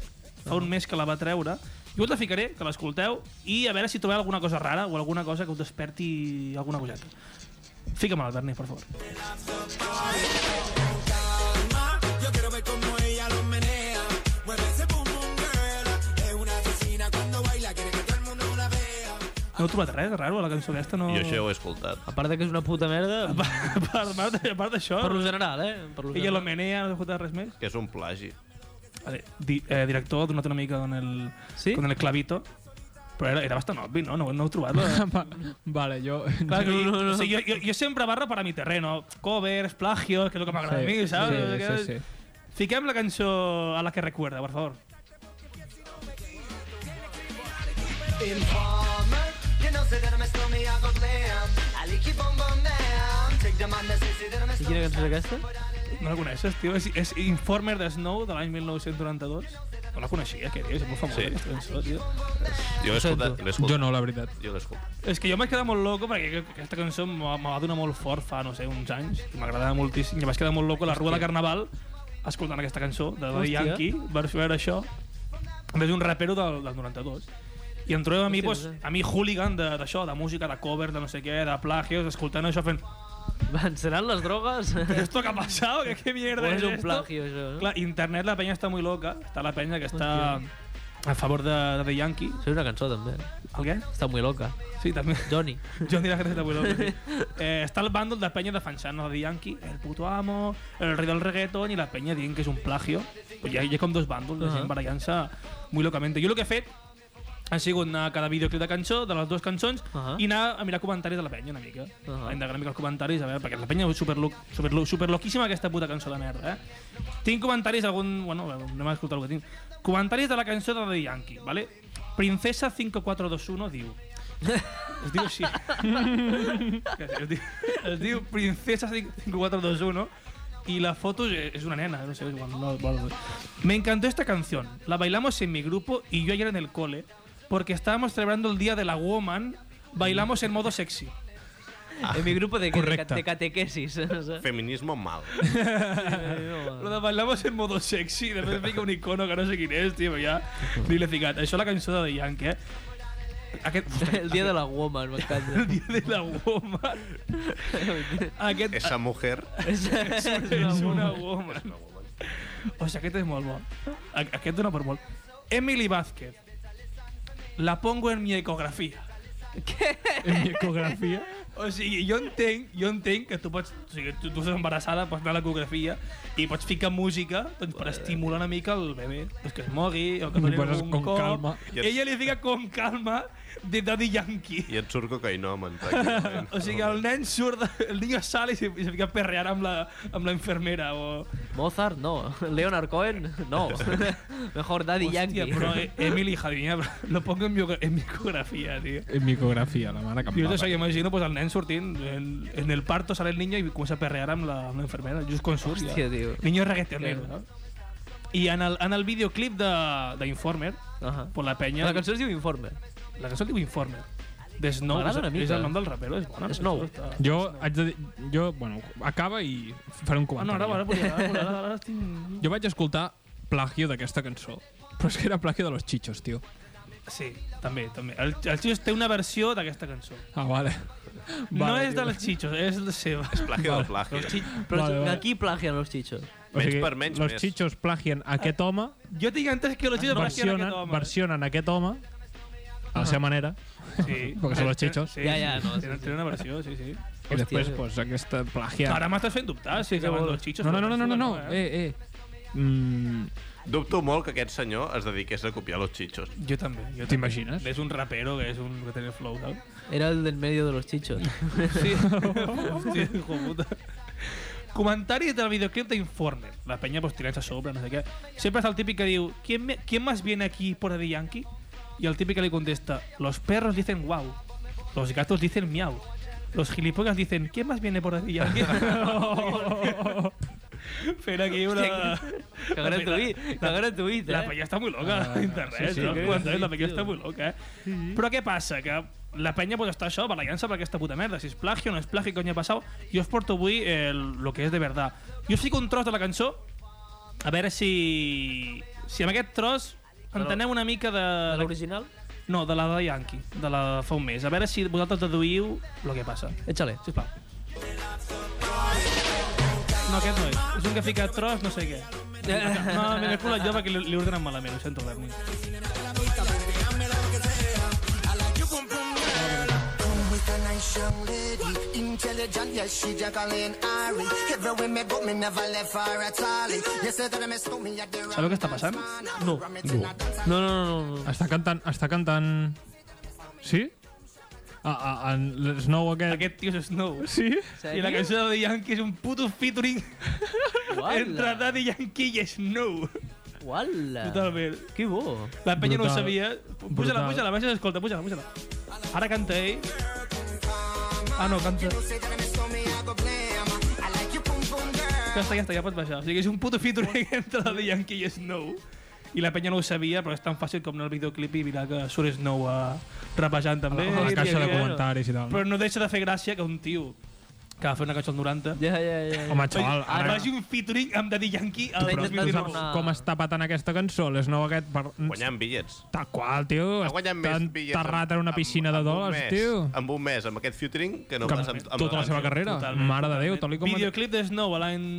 [SPEAKER 2] fa un mes que la va treure. Jo us la ficaré, que l'escolteu, i a veure si trobeu alguna cosa rara o alguna cosa que us desperti alguna coseta. Fica-me-la, Bernet, per favor.
[SPEAKER 6] Yo quiero ver cómo ella lo menea. Mueve ese boom boom girl. Es una asesina cuando baila, quiere que todo el mundo la vea.
[SPEAKER 2] No heu trobat res de raro a la cançó aquesta? No...
[SPEAKER 1] Jo això ho he escoltat.
[SPEAKER 4] A part de que és una puta merda,
[SPEAKER 2] A part, a part, a part d'això,
[SPEAKER 4] per lo general, eh? Per lo
[SPEAKER 2] ella lo
[SPEAKER 4] general.
[SPEAKER 2] menea, no heu escoltat res més?
[SPEAKER 1] Que és un plagi.
[SPEAKER 2] Vale, di, eh, director, donat una mica con el,
[SPEAKER 4] Sí?
[SPEAKER 2] con el clavito. Però era, era bastant obvi, no? No, no heu trobat la,
[SPEAKER 3] Va, vale, jo...
[SPEAKER 2] Clar, no, no, no. O sigui, jo, jo, jo sempre barro per a mi terreno. Covers, plagios, que és el que m'agrada sí, a mi, saps?
[SPEAKER 3] Sí, sí, sí.
[SPEAKER 2] Fiquem la cançó a la que recuerda, per favor.
[SPEAKER 6] Informer, you know, say that I'm a stormy, I go glam. I like you boom boom down. Take the man that says that I'm a
[SPEAKER 4] I quina cançó és aquesta?
[SPEAKER 2] No la coneixes, tio? És, és Informer de Snow de l'any 1992. No la coneixia, què dius? És molt
[SPEAKER 1] Sí.
[SPEAKER 2] famosa, sí. aquesta cançó, tio.
[SPEAKER 1] Jo l'he escoltat. L'he
[SPEAKER 3] Jo
[SPEAKER 1] escoltat.
[SPEAKER 3] no, la veritat.
[SPEAKER 1] Jo l'he escoltat.
[SPEAKER 2] És que jo m'he quedat molt loco perquè aquesta cançó me va- me va donar molt fort fa, no sé, uns anys. i M'agradava moltíssim. I em vaig quedar molt loco a la rua de Carnaval escoltant aquesta cançó de Daddy
[SPEAKER 4] Hòstia.
[SPEAKER 2] Yankee. Vaig veure això. És un rapero del, del 92. I em trobem a mi,
[SPEAKER 4] Hòstia,
[SPEAKER 2] pues,
[SPEAKER 4] no sé.
[SPEAKER 2] a mi hooligan de- d'això, de, música, de cover, de no sé què, de plagios, escoltant això fent
[SPEAKER 4] Van, seran les drogues?
[SPEAKER 2] «Esto que ha pasado? ¿Qué, qué
[SPEAKER 4] O
[SPEAKER 2] mierda
[SPEAKER 4] és
[SPEAKER 2] es
[SPEAKER 4] un
[SPEAKER 2] esto?»
[SPEAKER 4] plagio, eh? això? no?
[SPEAKER 2] Clar, internet la penya està molt loca. Està la penya que està a favor de, de The Yankee.
[SPEAKER 4] Això és una cançó, també.
[SPEAKER 2] El què?
[SPEAKER 4] Està muy loca.
[SPEAKER 2] Sí, també.
[SPEAKER 4] Johnny.
[SPEAKER 2] John dirà que és la Willow. sí. Eh, està el bàndol de penya defensant el Yankee, el puto amo, el rei del reggaeton i la penya dient que és un plagio. Pues hi, ha, hi ha com dos bàndols, de gent
[SPEAKER 4] Ahà.
[SPEAKER 2] barallant-se molt locament. Jo el que he fet ha sigut anar a cada videoclip de cançó, de les dues cançons,
[SPEAKER 4] Ahà.
[SPEAKER 2] i anar a mirar comentaris de la penya una mica.
[SPEAKER 4] Ahà.
[SPEAKER 2] A indagar una mica els comentaris, a veure, perquè la penya és super, super, super loquíssima aquesta puta cançó de merda, eh? Tinc comentaris, algun... Bueno, anem a escoltar el que tinc. Comentaris de la cançó de The Yankee, ¿vale? Princesa 5421 diu... Es diu així. es, diu, es diu Princesa 5421 y la foto es es una nena, no sé, igual, no, igual. Me encantó esta canción. La bailamos en mi grupo y yo ayer en el cole porque estábamos celebrando el día de la woman. Bailamos en modo sexy.
[SPEAKER 4] En mi grupo de, de,
[SPEAKER 3] Correcte.
[SPEAKER 4] de catequesis. no sé.
[SPEAKER 1] Feminismo mal.
[SPEAKER 2] Lo de bailamos en modo sexy, de vez fica un icono que no sé quin és, tio, ja. Ni l'he ficat. Això és la cançó de The Yankee, eh? Aquest,
[SPEAKER 4] El dia de la woman,
[SPEAKER 2] el
[SPEAKER 4] m'encanta.
[SPEAKER 2] dia de la woman. Aquest,
[SPEAKER 1] Esa mujer...
[SPEAKER 4] és, és,
[SPEAKER 2] és una woman. O sigui, aquest és molt bo. A- Aquest dona per molt. Emily Vázquez. La pongo en mi ecografía.
[SPEAKER 3] En mi ecografia...
[SPEAKER 2] O sigui, jo entenc, jo entenc que tu pots... O sigui, tu, tu estàs embarassada, pots anar a l'ecografia i pots ficar música doncs, per estimular una mica el bebè. Doncs que es mogui, o que
[SPEAKER 3] Li
[SPEAKER 2] doni
[SPEAKER 3] poses
[SPEAKER 2] algun
[SPEAKER 3] Mm, con
[SPEAKER 2] cop.
[SPEAKER 3] calma.
[SPEAKER 1] I et-
[SPEAKER 2] Ella li fica com calma de Daddy Yankee.
[SPEAKER 1] I et surt cocainòmen, pràcticament.
[SPEAKER 2] O sigui, el nen surt, de- el niño sale i se, i se fica a perrear amb la, amb la infermera. O...
[SPEAKER 4] Mozart, no. Leonard Cohen, no. Mejor Daddy
[SPEAKER 2] Hòstia,
[SPEAKER 4] Yankee.
[SPEAKER 2] però eh, Emily Jardinera, lo pongo en, biogra- en mi ecografía, tío.
[SPEAKER 3] En micografia, la mare que em
[SPEAKER 2] Jo
[SPEAKER 3] va
[SPEAKER 2] o sigui,
[SPEAKER 3] parir.
[SPEAKER 2] imagino pues, el nen sortint, en, en el parto sale el niño i comença a perrear amb la, amb la infermera, just quan surt.
[SPEAKER 4] Hòstia, tio.
[SPEAKER 2] Niño reggaetonero, no? I en el, en el videoclip de- d'Informer,
[SPEAKER 4] Ajà.
[SPEAKER 2] pues la penya...
[SPEAKER 4] La cançó es diu Informe.
[SPEAKER 2] la cançó diu Informer. De Snow,
[SPEAKER 4] M'agrada
[SPEAKER 2] és,
[SPEAKER 4] una mica.
[SPEAKER 2] és el nom del rapero, és bona.
[SPEAKER 4] Snow.
[SPEAKER 2] Està-
[SPEAKER 3] Jo haig de dir... Jo, bueno, acaba i faré un
[SPEAKER 2] Ah, no,
[SPEAKER 3] comentari.
[SPEAKER 2] ara, ara, volia- ara, ara, ara, estic-
[SPEAKER 3] Jo vaig escoltar plagio d'aquesta cançó, però és que era plagio de los chichos, tio.
[SPEAKER 2] Sí, també, també. El, el Xixos té una versió d'aquesta cançó.
[SPEAKER 3] Ah, vale.
[SPEAKER 2] no és
[SPEAKER 3] tio.
[SPEAKER 2] dels Xixos, és la seva.
[SPEAKER 1] Plagio del plagio.
[SPEAKER 4] Però
[SPEAKER 3] Vale, vale.
[SPEAKER 4] aquí plagian los chichos.
[SPEAKER 3] O
[SPEAKER 1] Menys per menys,
[SPEAKER 3] Los
[SPEAKER 1] més.
[SPEAKER 3] chichos plagien aquest home,
[SPEAKER 2] Jo tinc entès que Eh, los Xixos
[SPEAKER 3] versionen,
[SPEAKER 2] no aquest
[SPEAKER 3] versionen aquest home a la seva manera,
[SPEAKER 2] home. Sí.
[SPEAKER 3] Perquè són los Xixos.
[SPEAKER 2] Sí,
[SPEAKER 4] Ja, ja, no, sí,
[SPEAKER 2] Tenen,
[SPEAKER 4] sí.
[SPEAKER 2] tenen una versió, sí, sí.
[SPEAKER 3] i després,
[SPEAKER 4] tio.
[SPEAKER 3] pues, aquesta
[SPEAKER 2] Ja.
[SPEAKER 3] plagia...
[SPEAKER 2] Ara m'estàs fent dubtar, si és que van los Xixos.
[SPEAKER 3] No, no, no, no, no, no, no.
[SPEAKER 2] Eh?
[SPEAKER 3] Eh, eh. Mm,
[SPEAKER 1] Dubto molt que aquest senyor es dediqués a copiar los chichos.
[SPEAKER 3] eh,
[SPEAKER 2] Jo també. Jo
[SPEAKER 3] T'imagines?
[SPEAKER 2] És un rapero que és un que té el flow, saps?
[SPEAKER 4] Era el del medio de los chichos.
[SPEAKER 2] Sí. Hòstia, hijo puta. Comentaris del videoclip d'Informer. La penya pues, tirant-se a sobre, no sé què. Sempre és el típic que diu ¿Quién, me, ¿Quién más viene aquí por de Yankee? I el típic que li contesta Los perros dicen wow. Los gatos dicen miau. Los gilipollas dicen ¿Quién más viene por de Yankee? Fent aquí una...
[SPEAKER 4] Que gratuït, que gratuït,
[SPEAKER 2] La
[SPEAKER 4] eh?
[SPEAKER 2] penya està molt loca a internet,
[SPEAKER 3] sí, sí,
[SPEAKER 2] no?
[SPEAKER 3] que-
[SPEAKER 2] Comentaris, la penya
[SPEAKER 4] sí,
[SPEAKER 2] està
[SPEAKER 4] tio.
[SPEAKER 2] molt loca, eh? Però què passa? Que la penya pues, està això, barallant-se per aquesta puta merda. Si és plagio o no és plagio, cony ha passat. Jo us porto avui eh, el que és de verdad. Jo us fico un tros de la cançó, a veure si... Si amb aquest tros entenem una mica de...
[SPEAKER 4] De l'original?
[SPEAKER 2] No, de la de Yankee, de la de fa un mes. A veure si vosaltres deduïu el que passa.
[SPEAKER 4] Échale.
[SPEAKER 2] Sisplau. No, aquest no és. És un que fica tros, no sé què. No, me l'he colat jo perquè li, li ordenen malament, ho sento, Berni.
[SPEAKER 6] with a nice young lady, intelligent, yes, she juggling Ari. Everywhere me go, me never left her at all. You say that I miss me at the
[SPEAKER 2] Sabeu què està passant?
[SPEAKER 6] No.
[SPEAKER 4] No, no, no, no, no.
[SPEAKER 3] està cantant... Està cantant... Sí? Ah, ah, en Snow aquest...
[SPEAKER 2] Aquest tio és Snow.
[SPEAKER 3] Sí?
[SPEAKER 2] I la cançó de Daddy Yankee és un puto featuring
[SPEAKER 4] Uala.
[SPEAKER 2] entre Daddy Yankee i Snow.
[SPEAKER 4] Uala.
[SPEAKER 2] Totalment.
[SPEAKER 4] Que bo.
[SPEAKER 2] La penya no ho
[SPEAKER 3] Brutal.
[SPEAKER 2] sabia. Puja-la,
[SPEAKER 3] Brutal.
[SPEAKER 2] puja-la, baixa, escolta, puja-la, puja-la. Ara canta ell. Ah, no, canta. Ja està, ja està, ja pots baixar. O sigui, és un puto featuring entre Daddy Yankee i Snow. I la penya no ho sabia, però és tan fàcil com anar al videoclip i mirar que surt Snow a rapejant també.
[SPEAKER 3] A la
[SPEAKER 2] i
[SPEAKER 3] caixa de
[SPEAKER 2] dient,
[SPEAKER 3] comentaris i tal.
[SPEAKER 2] Però no deixa de fer gràcia que un tio que va fer una cançó al 90
[SPEAKER 4] Ja, ja, ja.
[SPEAKER 3] Home, xaval,
[SPEAKER 2] Ara
[SPEAKER 3] ara...
[SPEAKER 2] faci un featuring amb Daddy Yankee al
[SPEAKER 4] Però-
[SPEAKER 2] 2019.
[SPEAKER 4] Ah.
[SPEAKER 3] Com està patant aquesta cançó, l'Snow aquest... Per...
[SPEAKER 1] Guanyant bitllets.
[SPEAKER 3] Tal qual, tio.
[SPEAKER 1] Ha guanyat
[SPEAKER 3] Està
[SPEAKER 1] més bitllets...
[SPEAKER 3] enterrat en una piscina de
[SPEAKER 1] un
[SPEAKER 3] dòlars,
[SPEAKER 1] mes,
[SPEAKER 3] tio.
[SPEAKER 1] Amb un mes, amb aquest featuring, que no
[SPEAKER 3] Que
[SPEAKER 1] pas
[SPEAKER 3] amb
[SPEAKER 1] amb... amb
[SPEAKER 3] tota la seva carrera.
[SPEAKER 2] Totalment,
[SPEAKER 3] Mare de Déu,
[SPEAKER 2] totalment.
[SPEAKER 3] tal i com...
[SPEAKER 2] Videoclip de Snow a l'any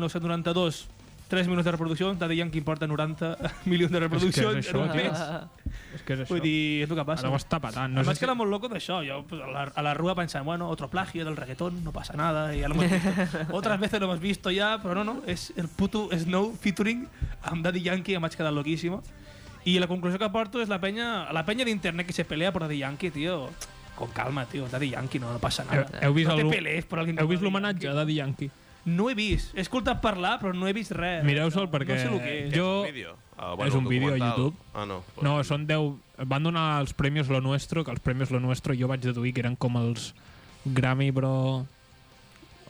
[SPEAKER 2] 1992, 3 minuts de reproducció, Daddy Yankee porta 90 milions de reproduccions
[SPEAKER 3] És que és
[SPEAKER 2] en
[SPEAKER 3] això,
[SPEAKER 2] un
[SPEAKER 3] tio.
[SPEAKER 2] mes.
[SPEAKER 3] És que és
[SPEAKER 2] Vull
[SPEAKER 3] això.
[SPEAKER 2] dir, és el que passa.
[SPEAKER 3] Ara ho està patant. No
[SPEAKER 2] Además que
[SPEAKER 3] sé si...
[SPEAKER 2] era muy loco de eso. Yo pues, a, la, a la rúa pensaba, bueno, otro plagio del reggaetón, no pasa nada, ya lo hemos visto. Otras veces lo hemos visto ya, pero no, no, es el puto Snow featuring amb Daddy Yankee, em vaig quedar loquíssima. I la conclusió que porto és la penya, la penya d'internet que se pelea per Daddy Yankee, tío. Con calma, tío, Daddy Yankee, no, no pasa nada.
[SPEAKER 3] Heu- heu vist
[SPEAKER 2] no te
[SPEAKER 3] algú-
[SPEAKER 2] pelees per alguien
[SPEAKER 3] Heu
[SPEAKER 2] com
[SPEAKER 3] vist
[SPEAKER 2] Daddy
[SPEAKER 3] l'homenatge
[SPEAKER 2] Yankee.
[SPEAKER 3] a Daddy Yankee?
[SPEAKER 2] No he vist. He escoltat parlar, però no he vist res.
[SPEAKER 3] Mireu-se'l
[SPEAKER 2] Eh, No
[SPEAKER 3] perquè
[SPEAKER 2] sé el que és.
[SPEAKER 3] jo...
[SPEAKER 1] Un vídeo. Ah, bueno,
[SPEAKER 3] És un vídeo a
[SPEAKER 1] documental.
[SPEAKER 3] YouTube.
[SPEAKER 1] Ah, no.
[SPEAKER 3] No, són 10... Van donar els Premios Lo Nuestro, que els Premios Lo Nuestro jo vaig deduir que eren com els Grammy, però...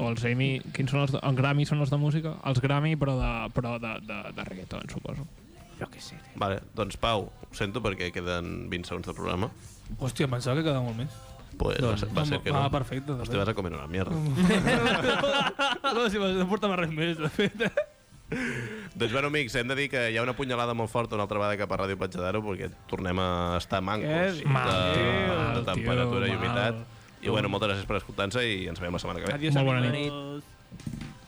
[SPEAKER 3] O els Emmy... Quins són els... De... Els Grammy són els de música? Els Grammy, però de, però de, de, de reggaeton, suposo.
[SPEAKER 2] Jo què sé, tio.
[SPEAKER 1] Vale, doncs Pau, ho sento perquè queden 20 segons de programa.
[SPEAKER 2] Hòstia, em pensava que quedava molt més.
[SPEAKER 1] Pues va
[SPEAKER 3] Doncs
[SPEAKER 1] ser, Doncs va ser que no.
[SPEAKER 2] Ah, perfecte.
[SPEAKER 1] Hòstia, vas a comer una mierda.
[SPEAKER 2] no, si no porta'm res més, de fet.
[SPEAKER 1] Doncs bueno, amics, hem de dir que hi ha una punyalada molt forta una altra vegada cap a Ràdio Platja d'Aro perquè tornem a estar
[SPEAKER 2] Eh,
[SPEAKER 1] mancos
[SPEAKER 3] mal,
[SPEAKER 1] de,
[SPEAKER 3] tio,
[SPEAKER 1] de temperatura
[SPEAKER 3] tio,
[SPEAKER 1] i humitat.
[SPEAKER 3] mal.
[SPEAKER 1] I bueno, moltes gràcies per escoltar-nos i ens veiem la setmana que ve.
[SPEAKER 2] Adiós,
[SPEAKER 3] Molt bona
[SPEAKER 2] amigos.
[SPEAKER 4] Nit.